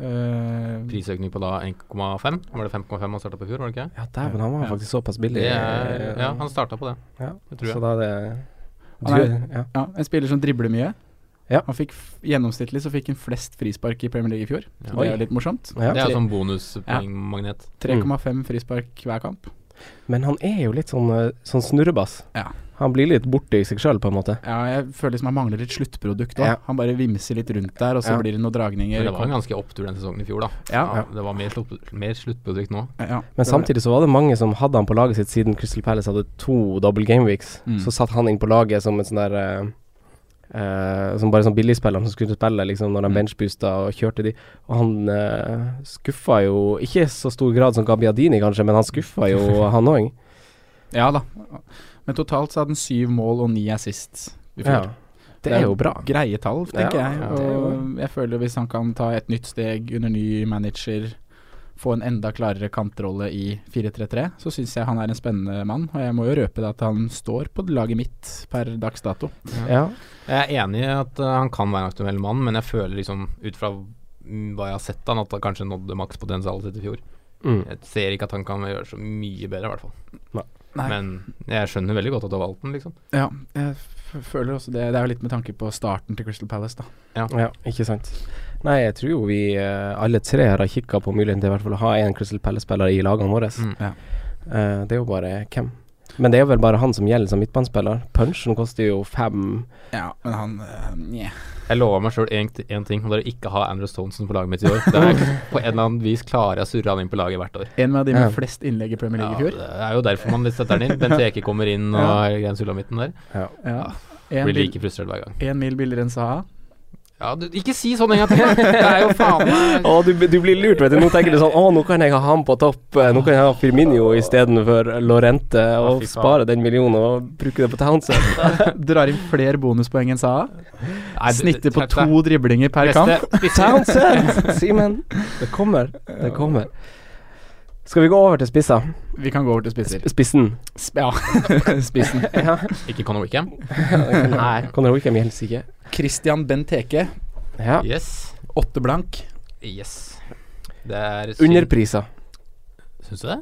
Uh,
Prisøkning på da 1,5. Var det 5,5 han starta på i fjor, var det ikke?
Ja, dæven, han var
Ja.
faktisk såpass billig.
Det er, ja, han starta på det.
Ja,
det tror jeg.
Så da er det
Han er-
du, ja.
Ja, en spiller som dribler mye.
Ja.
Han fikk f- Gjennomsnittlig så fikk han flest frispark i Premier League i fjor. Så
Ja.
Det
Oi.
er jo litt morsomt.
Ja.
Det er jo sånn bonuspoengmagnet.
Mm.
3,5 frispark hver kamp.
Men han er jo litt sånn, eh, sånn snurrebass.
Ja.
Han blir litt borte i seg sjøl, på en måte.
Ja, jeg føler som han mangler et sluttprodukt òg.
Ja.
Han bare vimser litt rundt der, og så
Ja.
blir det noen dragninger.
Men det var en ganske opptur den sesongen i fjor, da.
Ja.
Ja, det var mer, slutt, mer sluttprodukt nå.
ja.
Men samtidig så var det mange som hadde han på laget sitt siden Crystal Palace hadde to double game weeks.
Mm.
Så satt han inn på laget som en sånn der eh, eh, Som bare sånn billigspiller som skulle spille liksom når de
Mm.
benchboosta og kjørte de. Og han uh, skuffa jo Ikke i så stor grad som Gabbiadini, kanskje, men han skuffa jo
(laughs)
han òg.
Ja da. Men totalt så hadde han syv mål og ni assist i
Ja.
fjor.
Det er jo bra.
Greie tall, tenker
Ja,
jeg.
ja, det er jo
Og jeg føler hvis han kan ta et nytt steg under ny manager, få en enda klarere kantrolle i 4-3-3, så syns jeg han er en spennende mann. Og jeg må jo røpe det at han står på laget mitt per dags dato.
Ja.
Jeg er enig i at eh, han kan være en aktuell mann, men jeg føler liksom ut fra mm, hva jeg har sett han, at han kanskje nådde makspotensialet sitt i fjor.
Mm.
Jeg ser ikke at han kan gjøre så mye bedre, i hvert fall.
Nei.
Men jeg skjønner veldig godt at du har valgt den, liksom.
Ja, jeg f- føler også det. Det er jo litt med tanke på starten til Crystal Palace, da.
ja, ikke sant. Nei, jeg tror jo vi eh, alle tre her har kikka på muligheten til i hvert fall å ha én Crystal Palace-spiller i lagene våre.
Mm.
Ja.
Eh, det er jo bare hvem. Men det er jo vel bare han som gjelder som midtbanespiller. Punchen koster jo fem
Ja, men han øh, Nja.
Jeg lover meg sjøl én ting, og det er å ikke ha Andrew Stonesen på laget mitt i år. Det
(laughs)
er, på en eller annen vis klarer jeg å surre han inn på laget hvert år.
En av de
Ja.
med flest innlegg i Premier League i
Ja,
fjor.
det er jo derfor man litt setter den inn. Bent Eke kommer inn og
Ja.
er grenseulamitten der.
Ja. En
Blir
mil,
like frustrert hver gang.
en mil billigere enn Saha. (laughs)
Ja, du, ikke si sånn en gang til! Det er jo faen meg
Å, du, du blir lurt, vet du. Nå tenker du sånn Å, nå kan jeg ha ham på topp. eh, Nå kan jeg ha Firminio istedenfor Lorente, og
fy faen.
spare den millionen og bruke det på Townsend.
Drar inn flere bonuspoeng enn Saha.
Nei, det-
Snittet
det-
på
det-
to driblinger per kamp.
Beste-
(laughs)
beste-
Townsend! Simen. Det kommer. Det kommer. Skal vi gå over til spissa?
Vi kan gå over til spisser.
Spissen.
Sp ja, (laughs) spissen.
Ikke Conor Wickham.
Nei. Conor Wickham gjelder ikke.
Christian Benteke,
Ja.
Yes.
åtte blank.
Yes. Det er synd-
Underprisa.
Syns du det?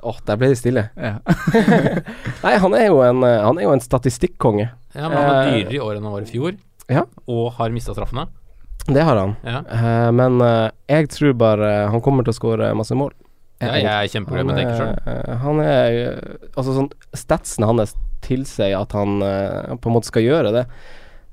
Åh, der ble det stille.
Ja.
Nei, han er jo en, eh, han er jo en statistikkonge.
Ja, men han var
Eh,
dyrere i år enn han var i fjor.
ja.
Og har mista straffene.
Det har han.
Ja.
Eh, men eh, jeg tror bare eh, han kommer til å skåre masse mål.
Ja, jeg er sånn. kjempeglad med Denker sjøl.
eh, han er eh, Altså, sånn statsene hans tilsier at han eh, på en måte skal gjøre det.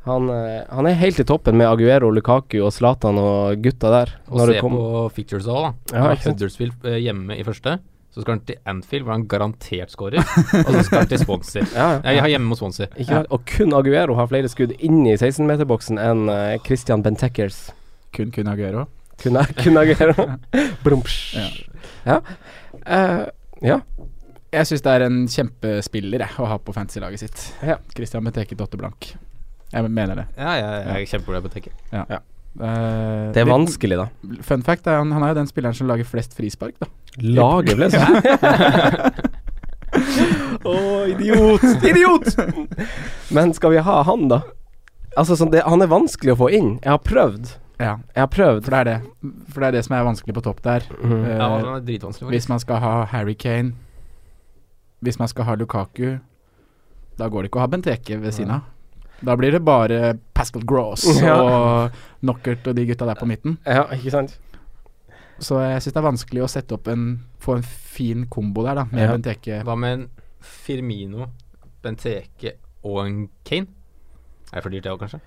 Han, eh, han er helt i toppen med Aguero, Lukaku og Zlatan og gutta der.
Og
når
se
det kom-
på Fictures òg, da.
Ja,
Han har
ikke sant.
Huddersfield eh, hjemme i første. Så skal han til Anfield, hvor han garantert skårer. og så skal han til
(laughs)
Swansea.
ja, ja.
Nei, Jeg har hjemme mot Swansea.
Ikke, sant? Og kun Aguero har flere skudd inni 16-meterboksen enn eh, Christian Benteckers.
Kun kun Aguero.
Kun, kun (laughs) Aguero. Brumsj.
Ja.
Ja. Eh, ja.
Jeg syns det er en kjempespiller jeg, å ha på fantasy-laget sitt.
Ja.
Christian Benteke, åtte blank. Jeg mener det.
Ja, jeg, jeg er kjempeglad med Denker.
Eh,
Det er vanskelig, da.
Fun fact er han, han er jo den spilleren som lager flest frispark, da.
Laget ble sånn. (laughs) Å, idiot! Idiot! Men skal vi ha han, da? Altså, sånn, det, Han er vanskelig å få inn. Jeg har prøvd.
Ja,
Jeg har prøvd.
for det er det. For det er det som er vanskelig på topp der.
Mhm.
Eh,
Ja, han er dritvanskelig.
hvis man skal ha Harry Kane, hvis man skal ha Lukaku, da går det ikke å ha Benteke ved siden av. Da blir det bare Pascal Gross
(laughs) Ja.
og Knockert og de gutta der på midten.
Ja, ikke sant?
Så jeg syns det er vanskelig å sette opp en få en fin kombo der, da, med
Ja.
Benteke.
Hva med en Firmino, Benteke og en Kane? Er det for dyrt, det òg, kanskje?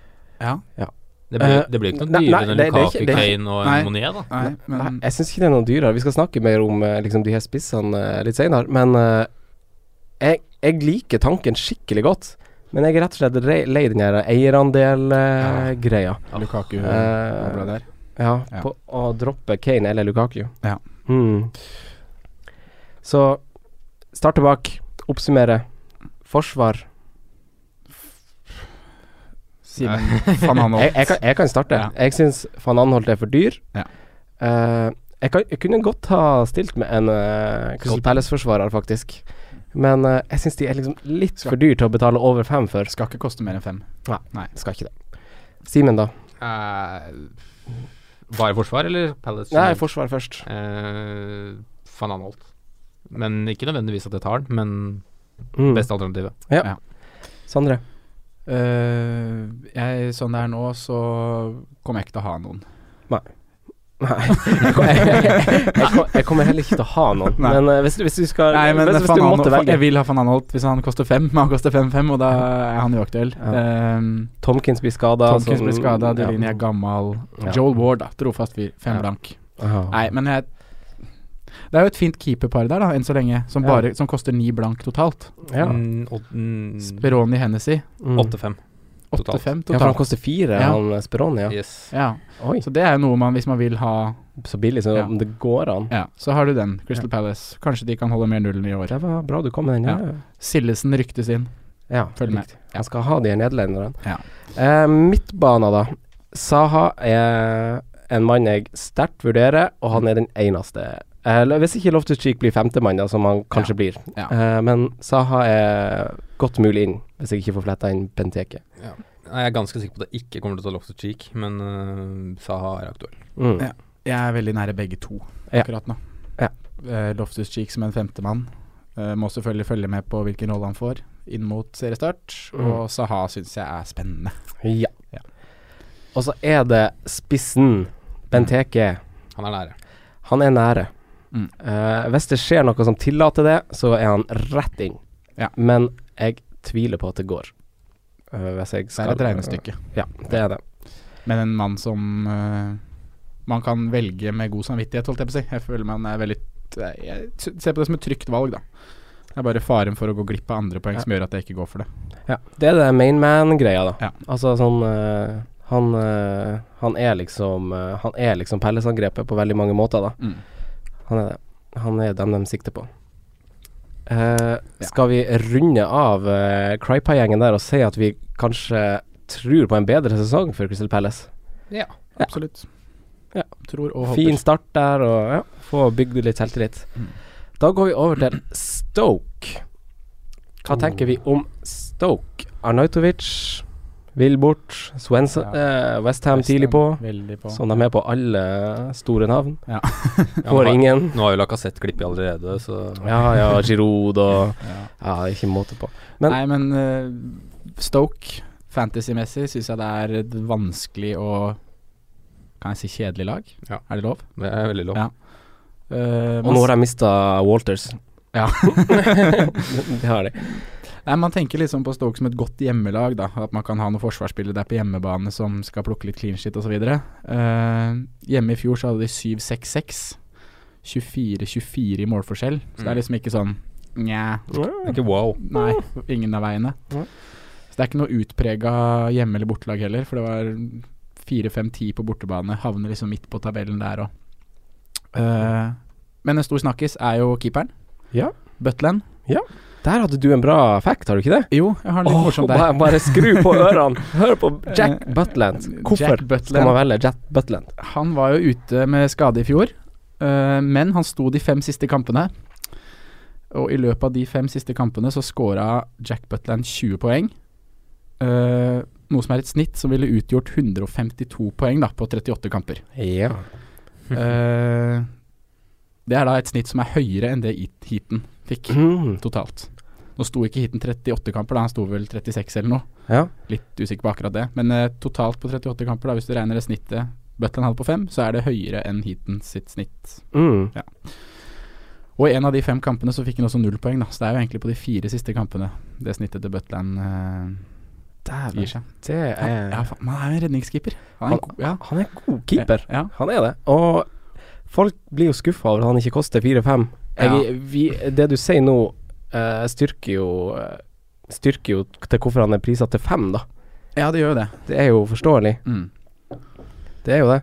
Ja.
Ja.
Det blir,
Eh,
det blir ikke noe
nei, nei,
dyrere enn
det- det er
Lukaku,
ikke- det er
Kane og
Nei.
en Monier, da.
Nei, men
Jeg syns ikke det er noe dyrere. Vi skal snakke mer om eh, liksom, de her spissene eh, litt senere. Men eh, jeg, jeg liker tanken skikkelig godt. Men jeg er rett og slett re- lei den her eh, eierandel-greia.
Lukaku
Eh,
bra der.
Ja,
Ja.
på å droppe Kane eller Lukaku.
Ja.
Mm. Så starte bak, oppsummere. Forsvar.
Simen (laughs) van
(laughs) Jeg,
Hanholt.
jeg, kan, jeg kan starte.
Ja.
Jeg syns van Anholt er for dyr.
Ja.
Eh, jeg, kan, jeg kunne godt ha stilt med en eh, Crystal Palace-forsvarer, faktisk. Men eh, jeg syns de er liksom litt
Skal-
for dyr til å betale over fem for.
Skal ikke koste mer enn fem.
Skal ikke det. Simen, da?
Eh, bare forsvar, eller Palace?
Nei, forsvar først.
Eh, Van Anholt. Men ikke nødvendigvis at jeg tar den, men
Mm.
beste alternativet.
Sondre?
Eh, jeg, sånn det er nå, så kommer jeg ikke til å ha noen.
Nei. Jeg, kom, jeg, kom, jeg kommer heller ikke til å ha noen.
Nei.
Men eh, hvis, du- hvis du skal
Nei, men
hvis, hvis
Van
du
Anholt,
måtte velge
jeg vil ha van Anholt hvis han koster fem, (laughs) men han koster fem-fem, og da er han uaktuell.
Ja.
Ehm,
Tomkins blir skada.
Tomkins blir skada, Delinje er gammel.
Ja.
Joel Ward, da. Trofast fyr. Fem
Ja.
blank.
Nei.
Nei, men jeg Det er jo et fint keeperpar der, da, enn så lenge, som,
Ja.
bare, som koster ni blank totalt.
Ja.
Mm, og- mm,
Speroni Hennessy,
Mm.
8-5.
8-5
Totalt.
Ja, for han
totalt.
koster fire,
Ja.
han eh, Speroni. Ja.
Yes.
Ja,
Oi,
så det er jo noe man, hvis man vil ha
så billig som
Ja.
det går an.
Ja, så har du den. Crystal Palace. Kanskje de kan holde mer nullen i år.
Det var bra du kom med den. Ja.
Sillesen ryktes inn.
Ja,
Følg med.
riktig. Han skal ha de nederlenderne.
Ja.
Eh, midtbana, da. Saha er en mann jeg sterkt vurderer, og han er den eneste. Eh, Eller hvis ikke Loftus Cheek blir femtemann, da, som han kanskje blir.
Ja.
Eh, men Saha er godt mulig inn, hvis jeg ikke får fletta inn Benteke.
Nei, jeg er ganske sikker på at det ikke kommer til å ta Loftus Cheek, men eh, Saha er aktuell.
Mm.
Ja. Jeg er veldig nære begge to
Ja.
akkurat nå.
Ja.
Eh, Loftus Cheek som en femtemann. Eh, må selvfølgelig følge med på hvilken rolle han får inn mot seriestart.
Mm.
Og Saha syns jeg er spennende.
Ja.
Ja.
Og så er det spissen, Benteke.
Han er nære.
Han er nære.
Mm.
Eh, hvis det skjer noe som tillater det, så er han rett inn.
Ja.
Men jeg tviler på at det går. Eh, hvis jeg
Det
skal
er et regnestykke.
Ja, det er det.
Men en mann som eh, man kan velge med god samvittighet, holdt jeg på å si. Jeg føler man er veldig eh, Jeg sy- ser på det som et trygt valg, da. Det er bare faren for å gå glipp av andre poeng som gjør at jeg ikke går for det.
Ja. Det er det main man-greia, da.
Ja.
Altså sånn eh, Han, eh, han er liksom eh, Han er liksom Pellesangrepet på veldig mange måter, da.
Mm.
Han er det. Han er dem de sikter på. Eh, Skal vi runde av uh, Crypie-gjengen der og si at vi kanskje tror på en bedre sesong for Crystal Palace?
Ja,
absolutt.
Ja.
Tror og håper.
Fin start der, og ja, få bygd litt selvtillit.
Mm.
Da går vi over til Stoke.
Oh.
Hva tenker vi om Stoke? Arnautovic vil bort. Swenson eh, Westham tidlig på.
Veldig på.
Som de er på alle store navn.
Ja.
(laughs) Får ingen.
Nå har jo Lacassette klippet allerede, så
Ja, ja, Giroud og
Ja.
Ja, ikke måte på. Men-
Nei, men eh, Stoke, fantasy-messig, syns jeg det er et vanskelig og Kan jeg si kjedelig lag?
Ja.
Er det lov?
det er veldig lov.
Ja. Eh,
Og
man,
nå har de mista Walters.
Ja.
(laughs) det har de.
nei, man tenker liksom på Stoke som et godt hjemmelag, da. At man kan ha noen forsvarsspillere der på hjemmebane som skal plukke litt clean shit osv. Uh, hjemme i fjor så hadde de 7-6-6. 24-24 i målforskjell. Så det
Mm.
er liksom ikke sånn Nja.
Det er Ikke wow.
Nei, ingen av veiene.
Nei.
Så det er ikke noe utprega hjemme- eller bortelag heller, for det var 4-5-10 på bortebane. Havner liksom midt på tabellen der òg. men en stor snakkis er jo keeperen.
Ja.
Butland.
Der hadde du en bra fact, har du ikke det?
Jo, jeg har den litt
Åh,
morsom der.
bare, bare skru på ørene! (laughs) Hør på Jack Butland. Hvorfor
Jack Butland.
skal man velge Jack Butland?
Han var jo ute med skade i fjor, eh, men han sto de fem siste kampene. Og i løpet av de fem siste kampene så scora Jack Butland 20 poeng. Eh, noe som er et snitt som ville utgjort 152 poeng da, på 38 kamper.
Ja.
Eh, det er da et snitt som er høyere enn det Heat- Heaton fikk
Mm.
totalt. Nå sto ikke Heaton 38 kamper, da han sto vel 36 eller noe.
ja.
Litt usikker på akkurat det. Men eh, totalt på 38 kamper, da, hvis du regner det snittet Butland hadde på fem, så er det høyere enn Heaton sitt snitt.
Mm.
Og i en av de fem kampene så fikk han også null poeng, da. Så det er jo egentlig på de fire siste kampene det snittet til Butland eh, gir
Dæven.
seg.
Det er
Ja, faen, man er jo en redningskeeper.
han,
Han er en ko- ja.
han er god keeper.
Ja.
Han er det. Og folk blir jo skuffa over at han ikke koster 4-5. Jeg- vi- Det du sier nå, eh, styrker jo eh, Styrker jo til hvorfor han er prisa til 5, da.
ja, det gjør jo det.
Det er jo forståelig.
Mm.
Det er jo det.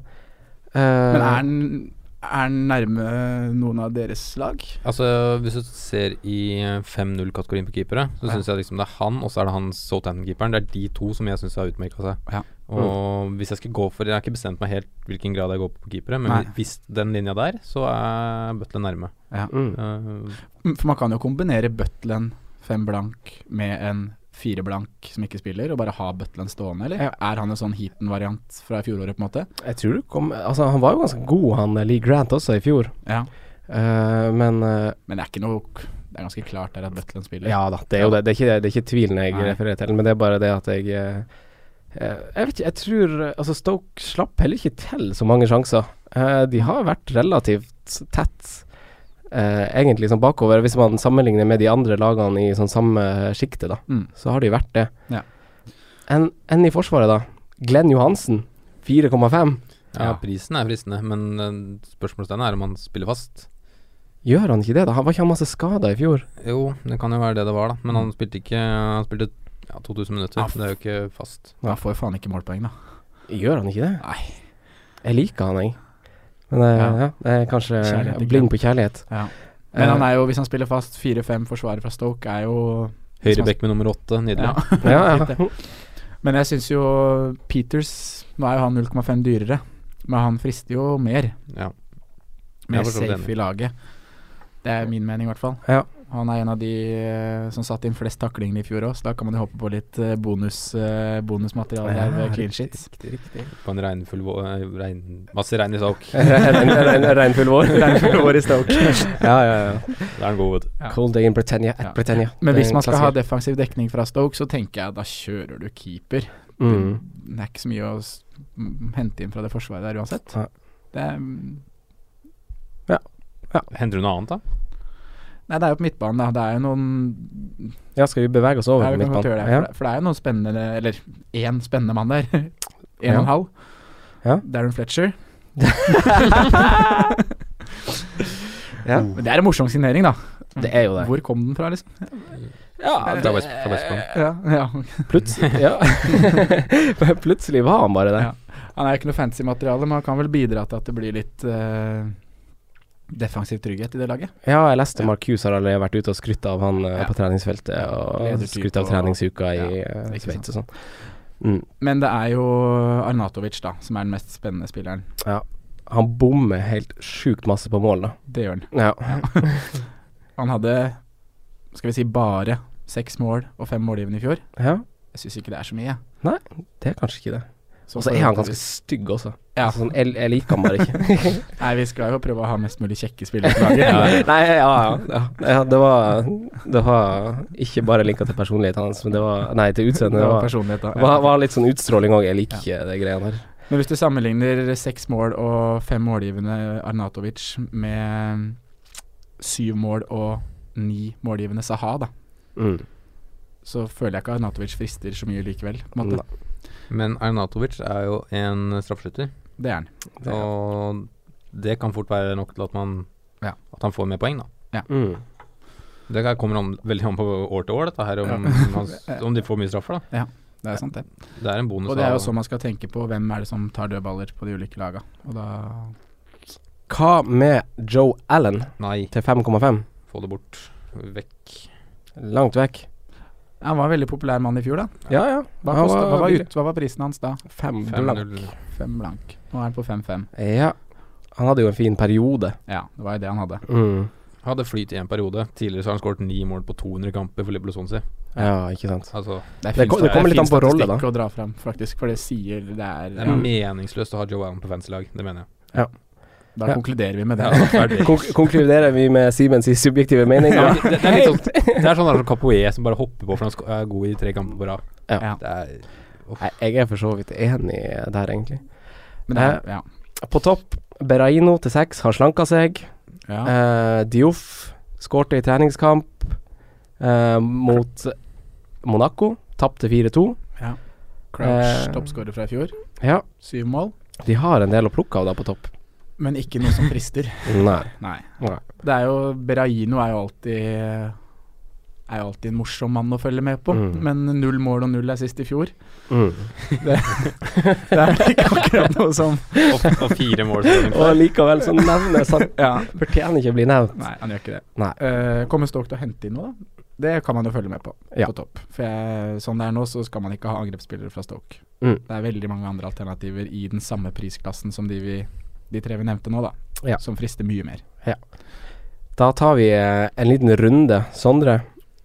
Eh,
Men er han, er han nærme eh, noen av deres lag?
Altså, hvis du ser i 5-0-kategorien på keepere, så
Ja.
syns jeg liksom det er han, og så er det han Southampton-keeperen. Det er de to som jeg syns har utmerka seg.
Ja. Mm.
Og hvis jeg skal gå for Jeg har ikke bestemt meg helt hvilken grad jeg går på på keepere, men
Nei.
hvis den linja der, så er Butler nærme.
mm.
Eh,
Mm, For man kan jo kombinere Butland fem blank med en fire blank som ikke spiller, og bare ha Butland stående, eller? Er han en sånn Heaton-variant fra fjoråret, på en måte?
Jeg tror du kom Altså, han var jo ganske god, han eh, Lee Grant, også i fjor.
Ja.
Eh, men eh,
Men det er ikke noe Det er ganske klart der at Butland spiller.
Ja da, det er jo det. Det er ikke, det er ikke tvilen jeg
Nei.
refererer til, men det er bare det at jeg eh, eh, Jeg vet ikke, jeg tror eh, Altså, Stoke slapp heller ikke til så mange sjanser. Eh, de har vært relativt tett, eh, egentlig, sånn bakover. Hvis man sammenligner med de andre lagene i sånn samme sjiktet, da,
Mm.
så har de vært det.
Ja.
En, en i Forsvaret, da. Glenn Johansen. 4,5.
ja,
Ja.
prisen er fristende, men eh, spørsmålstegnet er om han spiller fast.
Gjør han ikke det, da? Han var ikke han masse skada i fjor?
Jo, det kan jo være det det var, da, men
Mm.
han spilte ikke Han spilte ja, 2000 minutter. Det er jo ikke fast.
Da får jo faen ikke målpoeng, da.
Gjør han ikke det?
Nei.
Jeg liker han, jeg. Men eh,
Ja.
ja. det er kanskje
Kjærlighet til Glenn.
blind på kjærlighet. Eh,
Men han er jo, hvis han spiller fast, fire-fem forsvarere fra Stoke er jo
Høyrebekk med nummer åtte, nydelig.
Ja.
(laughs) Ja, ja.
Fint, det. (laughs) Men jeg syns jo Peters Nå er jo han 0,5 dyrere, men han frister jo mer.
Ja. Jeg
Mer
er for så vidt
safe
enig.
i laget. Det er min mening, i hvert fall.
Ja.
Han er en av de eh, som satte inn flest taklinger i fjor òg, så da kan man jo håpe på litt eh, bonus, eh, bonusmateriale der ved clean sheets.
(laughs)
På en regnfull vå- eh, regn, masse regn
(laughs)
i Stoke.
Regn- regn- Regnfull vår. Regnfull vår i Stoke. (laughs)
(laughs)
Ja,
(laughs)
ja, ja.
Det er en god, vet du.
Cold day in Britannia. At
Ja.
Britannia. Det
Men
er
hvis
en
man skal ha
klassiker.
defensiv dekning fra Stoke, så tenker jeg da kjører du keeper.
mm.
Det er ikke så mye å s- m- hente inn fra det forsvaret der uansett.
Nei.
Det er, mm, nei,
Henter du noe annet, da?
det er jo på midtbanen, da. Det er jo noen
Ja, skal vi bevege oss over
Ja,
på
vi kan godt gjøre
midtbanen?
det.
Ja.
For, det, for det er jo noen spennende Eller én spennende mann der. (laughs) En og
Ja.
en halv.
Ja.
Darren
(laughs)
Fletcher.
Ja.
Men det er en morsom signering, da.
Det er jo det.
Hvor kom den fra, liksom?
Ja,
Fra West- fra Westbrom.
Ja, ja.
Plutselig, ja. (laughs) Plutselig var han bare det.
Ja. Han er jo ikke noe fancy materiale, men han kan vel bidra til at det blir litt eh, defensiv trygghet i det laget.
Ja, jeg leste Marcus har allerede vært ute og skrytt av han eh,
Ja.
på treningsfeltet, og
Ledertype
skrytt av
og-
treningsuka i
Ja,
eh,
ikke
Sveits og sånn. Mm.
Men det er jo Arnatovic da, som er den mest spennende spilleren.
Ja. Han bommer helt sjukt masse på mål, da.
Det gjør han.
Ja.
Han hadde, skal vi si, bare seks mål og fem målgivende i fjor.
ja.
Jeg syns ikke det er så mye. jeg.
Nei, det er kanskje ikke det.
Så
Og så er han ganske stygg også.
Ja.
Sånn, jeg, jeg liker han bare ikke. (laughs)
Nei, vi skal jo prøve å ha mest mulig kjekke spillere på (laughs) laget.
Nei, ja, ja. ja. ja det, var, det var ikke bare linka til personligheten hans, men det var Nei, til utseendet.
Det var
Det var,
personlighet, da.
var, var litt sånn utstråling òg. Jeg liker ikke det greia der.
Men hvis du sammenligner seks mål og fem målgivende Arnatovic med syv mål og ni målgivende Saha, da,
Mm.
så føler jeg ikke Arnatovic frister så mye likevel. På en måte.
Nei,
Men Arnatovic er jo en straffeskytter,
Det er han.
det-
og det kan fort være nok til at man
Ja.
At han får mer poeng, da.
Mm.
Det her kommer an, veldig an på år til år, dette her, om,
(laughs)
han, om de får mye straffer, da.
Det er sant, det.
Det er en bonus.
Og det er jo
av-
sånn man skal tenke på hvem er det som tar dødballer på de ulike laga. Og da
Hva med Joe Allen
Nei,
til 5,5?
få det bort. Vekk.
Langt vekk.
Han var en veldig populær mann i fjor, da.
Ja, ja.
Hva,
Han
kostet, hva, var
billig.
ut, hva var prisen hans da?
Fem
5-0.
blank.
Fem blank. Nå er han på 5-5.
Ja. Han hadde jo en fin periode.
Ja, det var jo det han hadde.
Mm.
Hadde flyt i en periode. Tidligere så har han skåret ni mål på 200 kamper for Liverpool Swansea.
Ja, ikke sant.
Altså,
Det
fin
kom- det
sta-
kommer litt
fin
an på rolle, da.
statistikk å dra fram, faktisk, for det sier det er
det er meningsløst å ha Joe Allen på fancy-lag, det mener jeg.
Da
Ja.
konkluderer vi med det.
Ja, ferdig.
Konk konkluderer vi med Simens subjektive mening?
Ja, men det, det er litt sånn Det er sånn der som Capoe som bare hopper på for han sk- er god i tre kamper på rad.
Ja.
Det er
Nei, Jeg er for så vidt enig der, egentlig.
Men det er, ja.
På topp, Beraino til seks har slanka seg.
ja.
Eh, Dioff skårte i treningskamp eh, mot Monaco. Tapte 4-2.
Crouch,
Eh,
toppskårer fra i fjor.
Ja,
Syv mål,
de har en del å plukke av da på topp.
men ikke noe som
(laughs)
frister.
Nei.
Nei.
Nei.
Det er jo Beraino er jo alltid er jo alltid en morsom mann å følge med på,
Mm.
men null mål og null er sist i fjor.
Mm.
(laughs) Det er vel ikke akkurat noe som
Og, og fire mål. så-
Og likevel så nevnes (laughs) han. Fortjener ikke å bli nevnt.
Nei, han gjør ikke det.
Nei.
Eh, kommer Stoke til å hente inn noe, da? Det kan man jo følge med på,
Ja.
på topp. For jeg, sånn det er nå, så skal man ikke ha angrepsspillere fra Stoke.
Mm.
Det er veldig mange andre alternativer i den samme prisklassen som de, vi, de tre vi nevnte nå, da.
Ja.
Som frister mye mer.
Da tar vi eh, en liten runde. Sondre,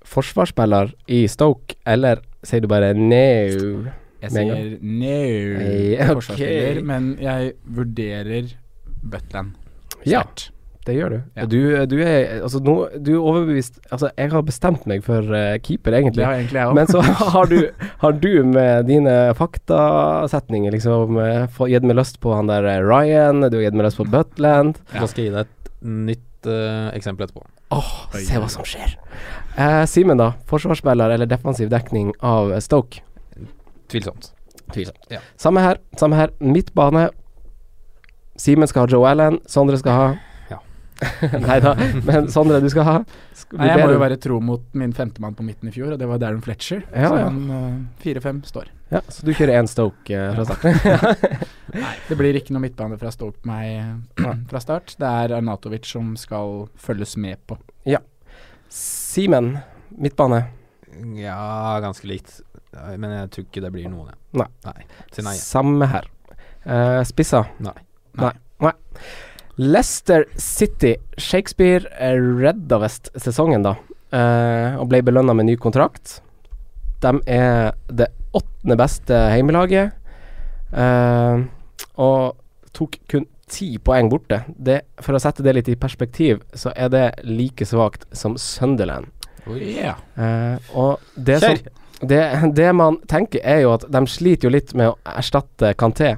forsvarsspiller i Stoke, eller sier du bare no?
Jeg
Med en
sier no,
Ja, ok.
forsvarsspiller, men jeg vurderer Butland.
Ja,
sterkt.
det gjør du.
Ja.
Du, du er altså nå Du er overbevist Altså, jeg har bestemt meg for eh, keeper,
Det
egentlig.
har egentlig jeg òg.
Men
(laughs)
så har du, har du med dine faktasetninger liksom eh, få- gitt meg lyst på han der eh, Ryan, du har gitt meg lyst på Butland.
Da skal jeg gi deg et nytt eh, eksempel etterpå.
Se hva som skjer. Eh, Simen, da. Forsvarsspiller eller defensiv dekning av eh, Stoke?
Tvilsomt.
Tvilsomt.
Ja.
Samme her. Samme her. Midtbane. Simen skal ha Joe Allen. Sondre skal ha
Ja.
(laughs) Nei da, men Sondre, du skal ha Skal
Nei, jeg må
vurdere-
jo være tro mot min femtemann på midten i fjor, og det var Darren Fletcher.
Ja,
så
ja.
han eh, fire-fem står.
ja, Så du kjører én Stoke eh, fra start?
Nei, det blir ikke noe midtbane fra Stoke på meg eh, (clears throat) fra start. Det er Arnatovic som skal følges med på.
Simen, midtbane.
Ja, ganske likt. Nei, Men jeg tror ikke det blir noen, jeg.
Nei.
Si nei. jeg.
Samme her. Eh, Spissa.
Nei.
Nei. Nei. Leicester City. Shakespeare eh, redda vest sesongen, da, eh, og ble belønna med ny kontrakt. De er det åttende beste heimelaget, eh, og tok kun ti poeng borte. Det, for å sette det litt i perspektiv, så er det like svakt som Sunderland.
Yeah.
Eh, og det, som, det, det man tenker er jo at de sliter jo litt med å erstatte Kanté.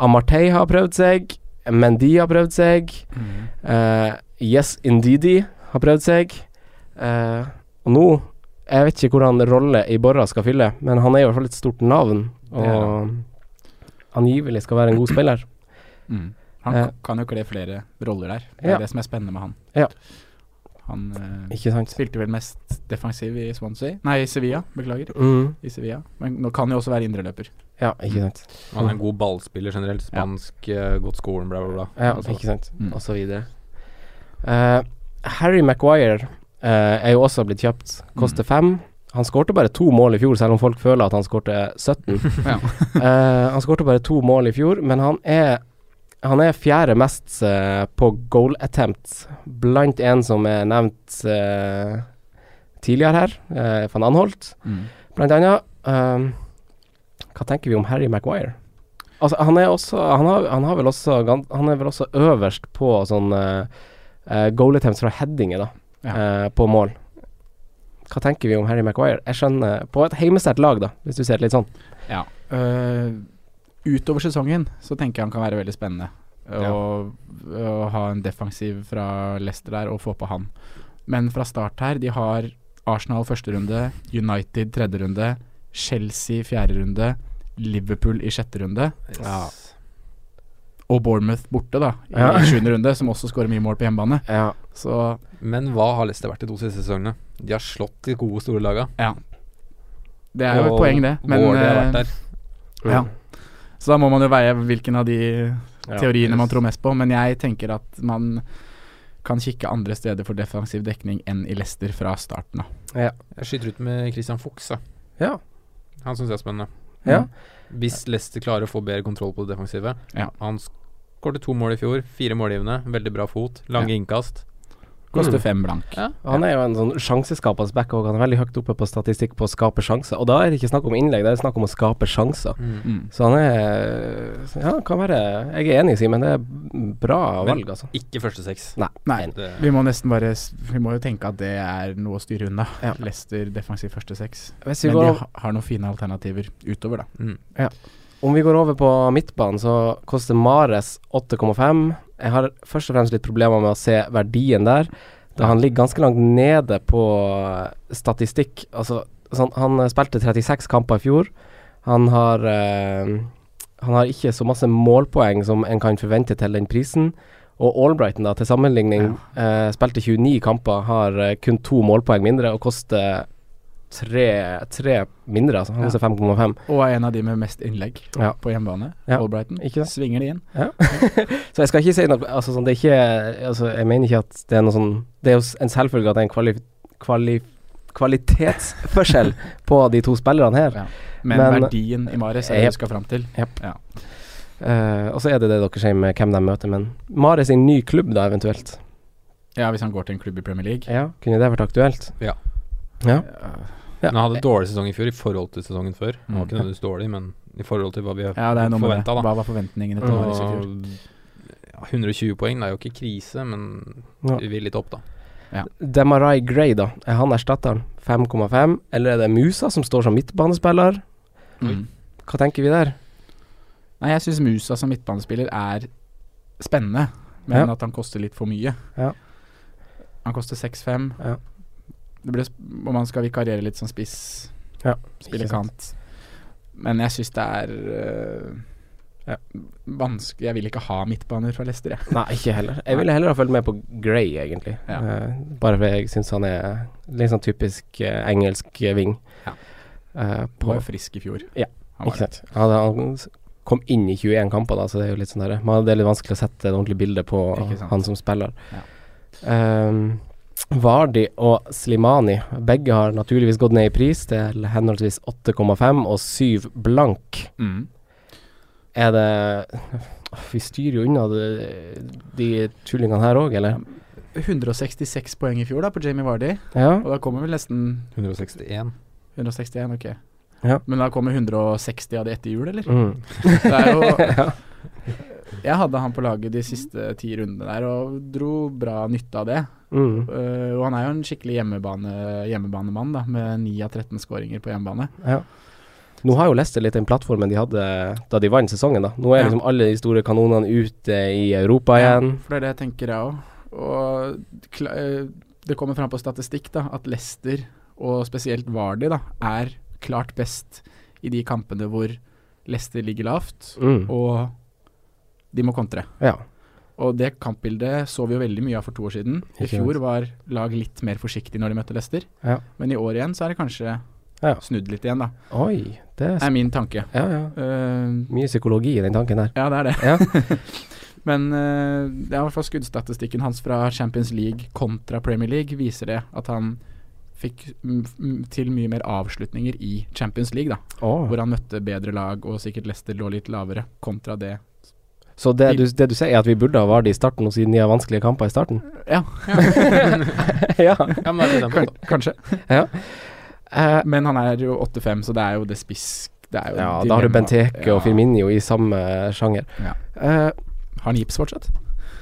Amartey har prøvd seg, Mendy har prøvd seg, eh, Yes Indeedy har prøvd seg. Eh, og nå Jeg vet ikke hvordan rolle Iborra skal fylle, men han er i hvert fall et stort navn,
er
og angivelig skal være en god spiller.
Mm. Han
Eh.
k- kan jo kle flere roller der. Det er
Ja.
det som er spennende med han.
Ja.
Han eh,
Ikke sant?
spilte vel mest defensiv i Swansea Nei, i Sevilla, beklager.
Mm.
I Sevilla. Men nå kan han jo også være indreløper.
Ja, ikke sant.
Han er en god ballspiller generelt. Spansk, eh, godt skolen, bla, bla, bla.
Ja,
Altså,
ikke sant.
Mm.
Og så videre. Eh, Harry Maguire eh, er jo også blitt kjøpt. Koster fem. Han skårte bare to mål i fjor, selv om folk føler at han skårte 17.
Ja.
Eh, han skårte bare to mål i fjor, men han er han er fjerde mest eh, på goal attempts, blant en som er nevnt eh, tidligere her, eh, van Anholt.
(laughs) Mm.
Blant annet ehm, Hva tenker vi om Harry Maguire? Altså, han er også Han, har, han, har vel også, gan- han er vel også øverst på sånn eh, eh, goal attempts fra headinger, da. eh, på mål. Hva tenker vi om Harry Maguire? Jeg skjønner På et heimestert lag, da, hvis du ser det litt sånn.
Eh, utover sesongen så tenker jeg han kan være veldig spennende. Og, og ha en defensiv fra Leicester der og få på han. Men fra start her, de har Arsenal første runde, United tredje runde, Chelsea fjerde runde, Liverpool i sjette runde. Og Bournemouth borte, da, i
Ja.
(laughs) sjuende runde, som også skårer mye mål på hjemmebane.
Ja.
Så
Men hva har Leicester vært de to siste sesongene? De har slått de gode, store laga.
det er jo et poeng, det. Men,
Ward har
eh,
vært der.
Ja. Så da må man jo veie hvilken av de
Ja,
teoriene man
yes.
tror mest på. Men jeg tenker at man kan kikke andre steder for defensiv dekning enn i Leicester fra starten av.
Jeg skyter ut med Christian Fuchs, da.
Ja.
Han syns jeg er spennende.
Ja.
Hvis Leicester klarer å få bedre kontroll på det defensive
Mm. Ja.
Han skåret to mål i fjor, fire målgivende, veldig bra fot, lange innkast.
Koster
Mm.
fem blank.
Han er jo en sånn sjanseskapende back, og han er veldig høyt oppe på statistikk på å skape sjanser. Og da er det ikke snakk om innlegg, det er snakk om å skape sjanser.
Mm.
Så han er Ja, kan være Jeg er enig, Simen. Det er bra
Men-
valg, altså.
Ikke første seks.
Nei.
Nei,
Det,
vi må nesten bare s- Vi må jo tenke at det er noe å styre unna.
Ja.
Leicester defensiv første seks.
Hvis vi
Men
går
de
over,
ha- har noen fine alternativer utover, da.
om vi går over på midtbanen, så koster Mares 8,5. Jeg har først og fremst litt problemer med å se verdien der, da han ligger ganske langt nede på eh, statistikk. Altså, sånn, han spilte 36 kamper i fjor. Han har eh, Han har ikke så masse målpoeng som en kan forvente til den prisen. Og Albrighton, da, til sammenligning, eh, spilte 29 kamper, har eh, kun to målpoeng mindre og koster tre, tre mindre, altså. Han
Ja.
koster 5,5.
Og er en av de med mest innlegg
Ja.
på hjemmebane.
Ja.
Albrighton.
Ikke sant?
Svinger de inn.
Så jeg skal ikke si noe altså, sånn, det er ikke, altså, Jeg mener ikke at det er noe sånn Det er jo s- en selvfølge at det er en kvali, kvali, kvalitetsforskjell på de to spillerne her.
Ja. Men,
Men-
verdien i Mares er det
Jep.
du skal fram til.
Eh, og så er det det dere sier med hvem de møter, men Mare sin ny klubb, da, eventuelt.
Ja, hvis han går til en klubb i Premier League.
Ja, Kunne det vært aktuelt? Ja.
Men han hadde dårlig sesong i fjor i forhold til sesongen før. Han var
Mm.
ikke nødvendigvis dårlig, men i forhold til hva vi
Ja, det er noe med det.
forventa, da.
Hva var forventningene
Mm.
til Mares i fjor?
Og, ja, 120 poeng, det er jo ikke krise, men
Ja.
vi vil litt opp, da.
Demarai Gray, da. Er han erstatteren? 5,5? Eller er det Musa som står som midtbanespiller?
Mm.
Hva tenker vi der?
Nei, jeg syns Musa som midtbanespiller er spennende, men
Ja.
at han koster litt for mye.
Ja.
Han koster 6-5.
Ja.
Det blir sp- om han skal vikariere litt som spiss,
Ja,
spille
ikke sant.
kant. Men jeg syns det er øh,
Ja.
vanskelig Jeg vil ikke ha midtbaner fra Leicester, jeg.
Nei, ikke heller. Jeg ville heller ha fulgt med på Gray, egentlig.
Ja.
Eh, bare fordi jeg syns han er litt sånn typisk eh, engelsk eh, ving.
Ja.
Eh,
Han var
på,
jo frisk i fjor.
Ja,
han
ikke
var det.
sant. Han, han s- kom inn i 21 kamper, da, så det er jo litt sånn der Men det er litt vanskelig å sette et ordentlig bilde på
Ikke sant.
han som spiller. Ehm, Vardi og Slimani, begge har naturligvis gått ned i pris til henholdsvis 8,5 og 7 blank.
Mm.
Er det Vi styrer jo unna de, de tullingene her òg, eller?
166 poeng i fjor da på Jamie Vardy,
Ja.
og da kommer vel nesten
161.
161, ok.
Ja.
Men da kommer 160 av det etter jul, eller?
Mm.
Det er jo Jeg hadde han på laget de siste ti rundene der og dro bra nytte av det.
Mm.
Eh, og han er jo en skikkelig hjemmebane, hjemmebanemann, da, med 9 av 13 skåringer på hjemmebane.
Ja. Nå har jo Leicester litt den plattformen de hadde da de vant sesongen, da. Nå er
Ja.
liksom alle de store kanonene ute i Europa igjen.
Ja, for det er det jeg tenker, jeg òg. Og kla- eh, det kommer fram på statistikk da, at Leicester, og spesielt Vardy, da, er klart best i de kampene hvor Leicester ligger lavt,
Mm.
og de må kontre.
Ja.
Og det kampbildet så vi jo veldig mye av for to år siden. I
Ikke
fjor var lag litt mer forsiktig når de møtte Leicester,
Ja.
men i år igjen så er det kanskje
Ja.
snudd litt igjen, da.
Oi, det er
er min tanke.
Ja, ja.
Eh,
Mye psykologi i den tanken der.
ja, det er det. (laughs)
Ja.
Men eh, det er i hvert fall skuddstatistikken hans fra Champions League kontra Premier League viser det at han fikk mm, mm, til mye mer avslutninger i Champions League, da.
Åh.
Hvor han møtte bedre lag, og sikkert Leicester lå litt lavere, kontra det.
Så det du, det du sier er at vi burde ha Vardi i starten, og siden de har vanskelige kamper i
(laughs)
starten?
Ja, (laughs)
ja.
Ja, men det er litt
kan,
annet,
(laughs)
da.
kanskje.
Eh,
Men han er jo 8-5, så det er jo det spiss... Det er jo
ja,
dilemma.
da har du Benteke og
Ja.
Firminio i samme sjanger.
Ja.
Eh, (laughs)
Har han gips fortsatt?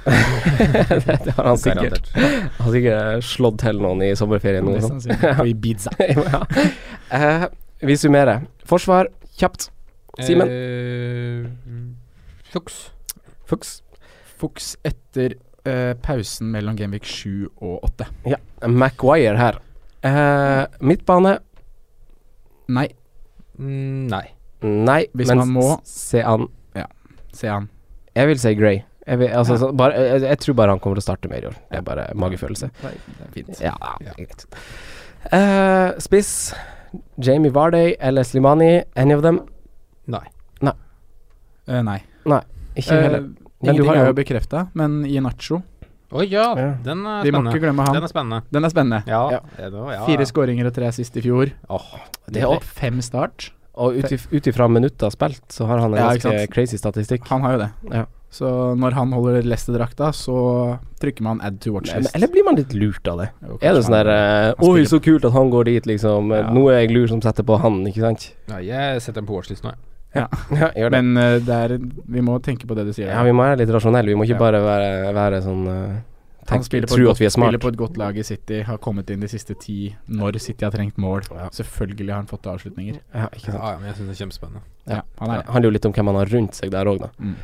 det, det har han sikkert.
Garantert.
Han har sikkert slått til noen i sommerferien. sånn. Noe
Mest
sånt. (laughs)
sannsynlig. På Ibiza.
ja. Eh, vi summerer. Forsvar, kjapt. Simen?
Eh, Fuchs.
Fuchs.
Fuchs etter eh, pausen mellom Genvik 7 og 8.
Maguire her. Eh, midtbane.
Nei,
Mm, nei.
Nei,
Hvis
men
man må-
s- se an
sier han.
Jeg vil si Gray. Jeg, vil, altså,
Ja.
så bare, jeg, jeg tror bare han kommer til å starte mer i år. Det er bare magefølelse.
Nei, det er fint.
Ja, det er greit. Eh, spiss. Jamie Varday eller Slimani. Any of them?
Nei.
Eh, nei.
Ikke
Eh,
heller. Men du
ingenting
har
er
jo
jo bekrefta, men Inacho
Å ja,
Ja.
den er
Vi må ikke
spennende.
glemme
Den
han.
er spennende.
Den er spennende.
Ja.
Ja.
det var- ja, ja.
Fire skåringer og tre sist i fjor.
Det er, og-
Fem start.
og ut if- ut ifra minutter spilt, så har han en
Ja, ikke
ganske
sant.
crazy statistikk.
Han har jo det.
Ja.
Så når han holder Leicester-drakta, så trykker man add to watch
Men-
list.
Eller blir man litt lurt av det?
Jo,
Er det
kanskje
sånn
han-
der
han
Oi, så
spiller-
kult at han går dit, liksom.
Ja.
Nå er jeg lur som setter på han, ikke sant?
Ja, jeg setter den på watchlist nå, jeg.
Ja, gjør det.
Men eh, det er, vi må tenke på det du sier.
Ja, vi må være litt rasjonelle. Vi må ikke
Ja.
bare være, være sånn eh,
han
tenk,
spiller på, et
Tro
godt,
at vi er smart.
spiller på et godt lag i City, har kommet inn de siste ti når City har trengt mål.
Ja.
Selvfølgelig har han fått avslutninger.
Ja, ikke sant.
Ja, ja, men jeg syns det er kjempespennende.
Ja, han er
Det
det.
handler jo litt om hvem han har rundt seg der òg, da.
Mm.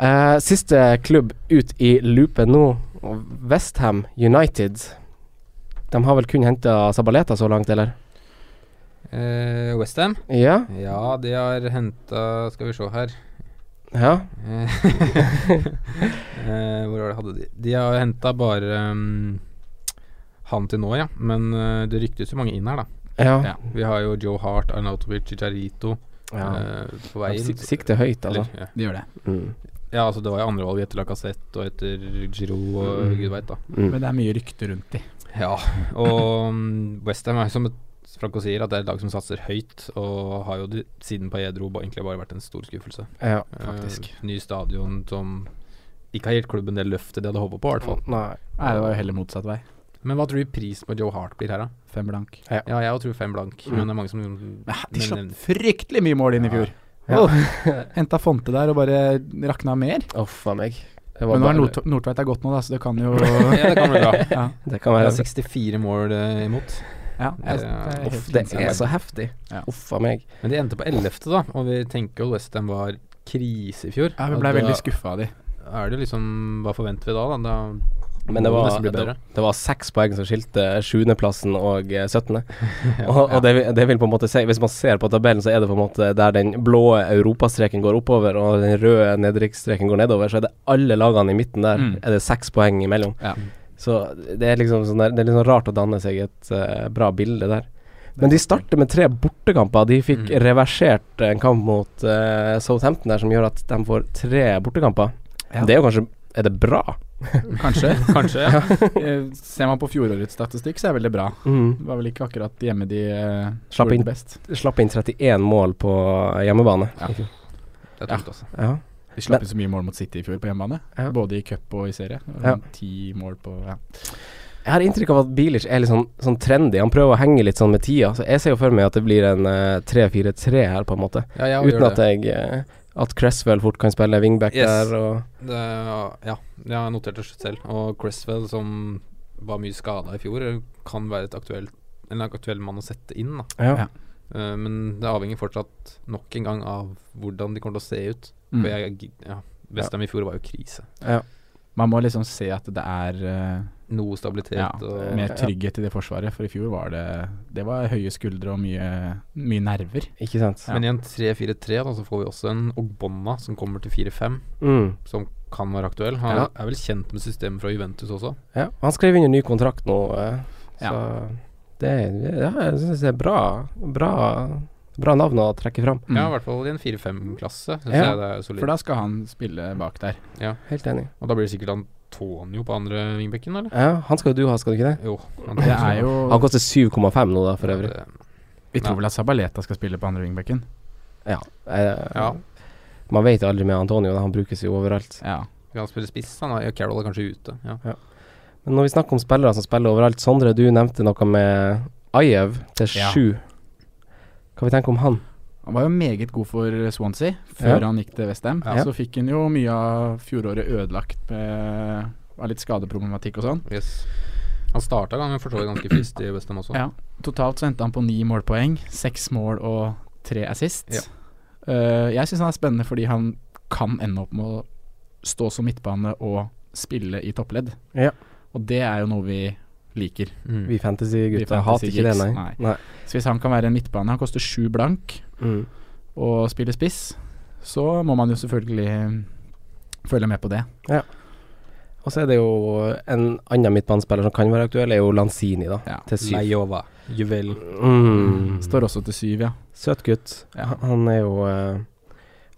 Eh, siste klubb ut i loopet nå, Westham United. De har vel kun henta Sabaleta så langt, eller?
Eh, Westham?
Ja?
Ja, de har henta Skal vi se her.
Ja?
Eh, (laughs) eh, hvor var det hadde de De har henta bare um, han til nå, ja. Men eh, det ryktes jo mange inn her, da.
Ja.
Ja.
Vi har jo Joe Hart, Arnautovic, Chicharito
ja.
eh, på vei inn.
Sik sikte høyt, altså.
Eller, ja.
De gjør det.
Mm.
ja, altså det var jo andrevalg etter Lacassette og etter Giro og
Mm.
gud veit, da.
Mm.
Men det er mye rykter rundt de.
Ja, og um, Westham er jo som et Franco sier, at det er et lag som satser høyt, og har jo de, siden Paillet dro ba- egentlig bare vært en stor skuffelse.
Ja,
Eh,
faktisk.
ny stadion som ikke har gitt klubben det løftet de hadde håpet på, i hvert fall.
Nei.
Nei, det var jo heller motsatt vei.
Men hva tror du prisen på Joe Hart blir her, da?
Fem blank.
Ja, jeg tror fem blank, men det er mange som men
De slapp
nevner-
fryktelig mye mål inn i fjor.
Ja.
Åh, Henta Fonte der og bare rakna mer.
Å, faen meg. Det, var
Men nå er
bare-
Nord Nordtveit er godt nå, da, så det kan jo
(laughs) Ja, det kan bli bra.
(laughs) ja.
det kan
Jeg har
være
64 mål eh, imot.
Ja,
Ja.
det er helt
Uff, det
sinnssykt.
er så heftig.
Ja.
Uff a meg.
Men de endte på 11., da, og vi tenker jo Westham var krise i fjor.
Ja, vi
Og
blei
da
veldig skuffa av de.
Er det liksom Hva forventer vi da, da? da
Men det
må
var,
nesten bli bedre.
det, det var seks poeng som skilte sjuendeplassen og eh, syttende.
(laughs)
Og, og det, vil- det vil på en måte si Hvis man ser på tabellen, så er det på en måte der den blå europastreken går oppover, og den røde nedrykksstreken går nedover, så er det alle lagene i midten der
Mm.
er det seks poeng imellom.
Ja.
Så det er liksom sånn der, Det er litt sånn rart å danne seg et eh, bra bilde der. Men de starter med tre bortekamper. De fikk
Mm.
reversert en kamp mot eh, Southampton der som gjør at de får tre bortekamper.
Ja.
Det er jo kanskje Er det bra?
Kanskje.
(laughs)
Kanskje, ja.
Eh, Ser man på fjorårets statistikk, så er vel det bra.
Mm.
Det var vel ikke akkurat hjemme de eh,
Slapp
gjorde
inn.
det best.
slapp inn 31 mål på eh, hjemmebane.
Ja. Det er tungt, altså.
Ja.
De slapp inn så mye mål mot City i fjor på hjemmebane.
Ja.
Både i cup og i serie. Det var
Ja.
sånn Ti mål på ja.
Jeg har inntrykk av at Bilic er litt sånn, sånn trendy. Han prøver å henge litt sånn med tida. Så jeg ser jo for meg at det blir en eh, 3-4-3 her, på en måte.
Ja, jeg
Uten
gjør
at jeg eh, At Cresswell fort kan spille wingback
Yes.
der og
Det, ja, jeg har notert det selv. Og Cresswell, som var mye skada i fjor, kan være et aktuelt en aktuell mann å sette inn. Da.
Ja.
Eh, men det avhenger fortsatt nok en gang av hvordan de kommer til å se ut.
Mm.
For jeg, jeg- ja, Westham i fjor var jo krise.
Man må liksom se at det er eh,
Noe stabilitet
ja,
og
Mer trygghet i det forsvaret, for i fjor var det Det var høye skuldre og mye, mye nerver.
Ikke sant?
Men i en 3-4-3 da, så får vi også en Ogbonna som kommer til 4-5,
Mm.
som kan være aktuell. Han
Ja.
er vel kjent med systemet fra Juventus også.
Ja, han skrev under ny kontrakt nå, eh, så
Ja.
det, ja, jeg syns det er bra, bra, bra navn å trekke fram.
Mm.
Ja, i hvert fall i en 4-5-klasse. Synes
Ja,
jeg det er solid.
For da skal han spille bak der.
Helt enig.
Og da blir det sikkert Antonio på andre vingbekken, eller?
Ja, han skal jo du ha, skal du ikke det?
Jo.
Det er jo
Han koster 7,5 nå, da, for øvrig.
Vi tror vel at Sabaleta skal spille på andre wingbacken.
Ja. eh,
Ja,
Man vet aldri med Antonio, da, han brukes jo overalt.
Ja.
vi kan spille spiss. Han er, ja, Carroll er kanskje ute. Ja.
Men når vi snakker om spillere som spiller overalt, Sondre, du nevnte noe med Ajev til
Ja.
sju. Hva vi tenker om han?
Han var jo meget god for Swansea før
Ja.
han gikk til Westham.
Ja.
Så fikk han jo mye av fjoråret ødelagt med av litt skadeproblematikk og sånn.
Yes. Han starta gangen for så vidt ganske friskt i Westham også.
Ja. Totalt så endte han på ni målpoeng, seks mål og tre assist.
Ja.
Eh, jeg syns han er spennende fordi han kan ende opp med å stå som midtbane og spille i toppledd.
Ja.
Og det er jo noe vi liker.
Mm.
Vi
Vi
fantasy-gutta hater
fantasy
ikke det,
geeks,
nei.
nei. Så hvis han kan være en midtbane, han koster sju blank,
Mm.
og spiller spiss, så må man jo selvfølgelig følge med på det.
Og så er det jo en annen midtbanespiller som kan være aktuell, er jo Lanzini, da.
Ja.
Til syv.
Leiova. Juvel.
Mm.
Står også til syv, ja.
Søt gutt.
Ja.
Han- Han er jo eh,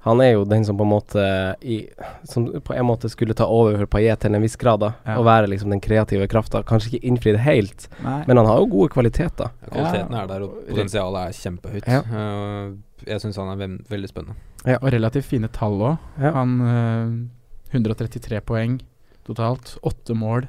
Han er jo den som på en måte i, Som på en måte skulle ta over for Paillet til en viss grad, da.
Ja.
Og være liksom den kreative krafta. Kanskje ikke innfri det helt,
Nei.
men han har jo gode kvaliteter.
Kvaliteten er der, og potensialet er kjempehøyt.
Ja.
Eh, jeg syns han er vem- veldig spennende.
Og relativt fine tall òg.
Ja.
Han øh, 133 poeng totalt. Åtte mål,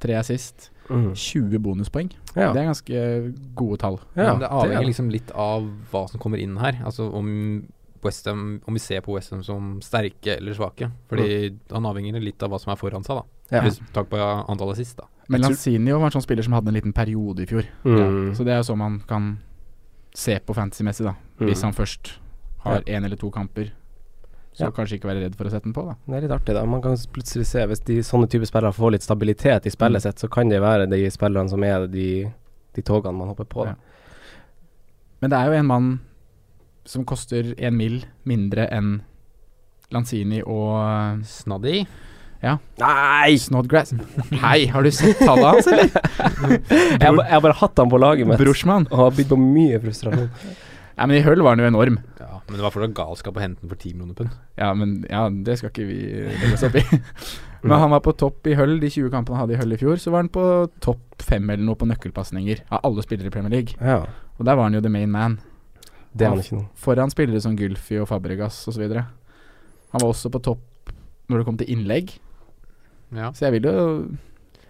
tre assist. 20 bonuspoeng.
Ja.
Mm. Det er ganske gode tall.
Ja,
Men det
det
avhenger
er det.
liksom litt av hva som kommer inn her. Altså om Westham Om vi ser på Westham som sterke eller svake. Fordi han avhenger litt av hva som er foran seg, da.
Ja.
Hvis du tar på antallet sist, da.
Men
Jeg tror-
Lanzini var en sånn spiller som hadde en liten periode i fjor.
Mm.
Så det er jo sånn man kan se på fantasy-messig, da. Hvis
Mm.
han først har én eller to kamper, så
Ja.
kanskje ikke være redd for å sette den på, da.
Det er litt artig, da. Man kan plutselig se Hvis de sånne type spillere får litt stabilitet i spillet sitt, så kan det være de spillerne som er de, de togene man hopper på. Da.
Ja. Men det er jo en mann som koster en mil mindre enn Lanzini og
Snaddy.
Nei! Snodgrass. Hei, har du sett tallet hans,
(laughs)
eller?
Jeg, har ba- jeg har bare hatt han på laget mitt
Brorsmann.
og har bydd på mye frustrasjon.
Nei, men i høll var han jo enorm.
Ja, men det var fortsatt galskap å hente den for 10 millioner pund.
Ja, men ja, det skal ikke vi legge oss opp i. Men han var på topp i høll de 20 kampene han hadde i høll i fjor. Så var han på topp fem eller noe på nøkkelpasninger av alle spillere i Premier League.
Ja,
Og der var han jo the main man.
det er han ikke nå.
Foran spillere som Gulfi og Fabregas osv. Han var også på topp når det kom til innlegg.
Ja.
Så jeg vil jo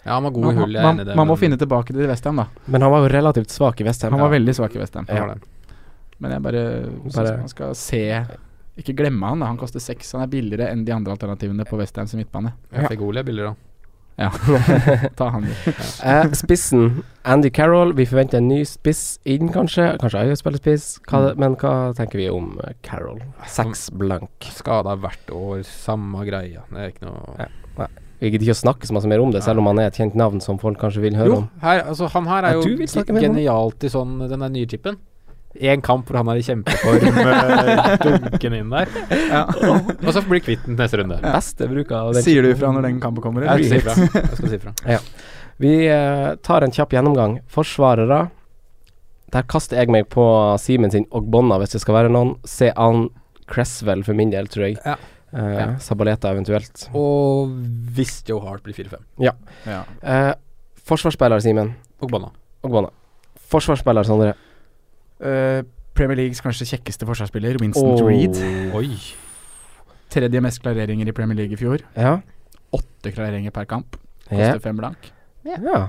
ja, han var god
Man,
i
må-
hullet. jeg er
man,
enig i det,
man må
men-
finne tilbake til Westham, da.
Men han var jo relativt svak i Westham.
Han var veldig svak i Westham.
Han var det.
Men jeg bare,
Bare-
synes man skal se Ikke glemme han, da. Han koster seks. Han er billigere enn de andre alternativene på Westham sin midtbane.
Jeg fikk Ole billigere, da. (laughs)
Ta han.
Eh, spissen, Andy Carroll. Vi forventer en ny spiss inn, kanskje. Kanskje Ayo spiller spiss.
Mm.
Hva, men hva tenker vi om eh, Carroll? Seks blank.
Skada hvert år, samme greia. Det er ikke noe
Ja. Vi gidder ikke å snakke så masse mer om det, selv om han er et kjent navn som folk kanskje vil høre
Jo,
om.
her, altså, han her er
Ja,
jo
du vil
ge-
snakke mer om han.
genialt i sånn den der nye chipen. Én kamp hvor han er i kjempeform, eh, dunken inn der. Og så blir kvitt den neste runde.
Beste bruk av den.
Sier du ifra når den kampen kommer?
Jeg skal si fra. Jeg skal si
(laughs)
fra.
Vi eh, tar en kjapp gjennomgang. Forsvarere. Der kaster jeg meg på Simen sin Ogbonna, hvis det skal være noen. Se an Cresswell for min del, tror jeg.
Ja.
Eh,
Ja.
Sabaleta eventuelt.
Og hvis Joe Hart blir 4-5
Ja.
Eh, forsvarsspiller, Simen.
og banna
Ogbonna. Forsvarsspiller, Sondre.
Eh, Premier Leagues kanskje kjekkeste forsvarsspiller, Winston
Åh.
Reed.
Oi.
Tredje mest klareringer i Premier League i fjor.
Ja.
Åtte klareringer per kamp.
Ja.
Koster fem blank.
ja.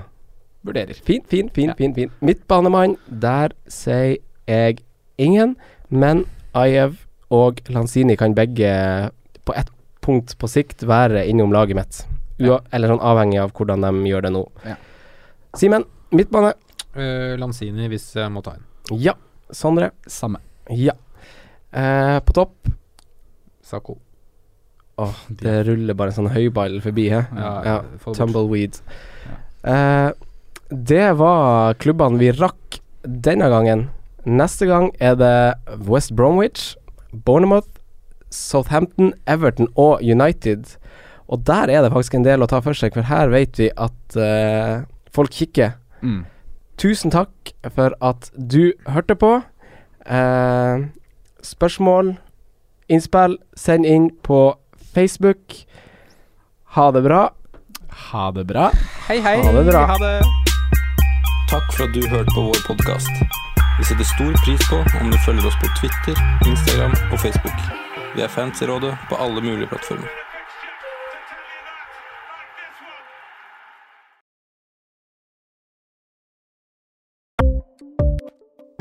Vurderer.
Fin, fin, fin,
Ja.
fin, fin. Midtbanemann, der sier jeg ingen, men Ajev og Lanzini kan begge på ett punkt på sikt være innom laget mitt. Ua Eller sånn avhengig av hvordan de gjør det nå.
Ja.
Simen, midtbane.
Eh, Lanzini hvis jeg må ta en.
Ja. Sondre.
Samme.
Ja. Eh, på topp,
Sako.
Åh, det ruller bare en sånn høyball forbi her.
Ja,
Ja,
få det bort.
tumbleweed. Eh, det var klubbene vi rakk denne gangen. Neste gang er det West Bromwich, Bournemouth, Southampton, Everton og United. Og der er det faktisk en del å ta for seg, for her vet vi at eh, folk kikker.
Mm.
Tusen takk for at du hørte på. Eh, spørsmål, innspill, send inn på Facebook. Ha det bra.
Ha det bra.
Hei, hei. Ha det bra.
Takk for at du hørte på vår podkast. Vi setter stor pris på om du følger oss på Twitter, Instagram og Facebook. Vi er fans i rådet på alle mulige plattformer.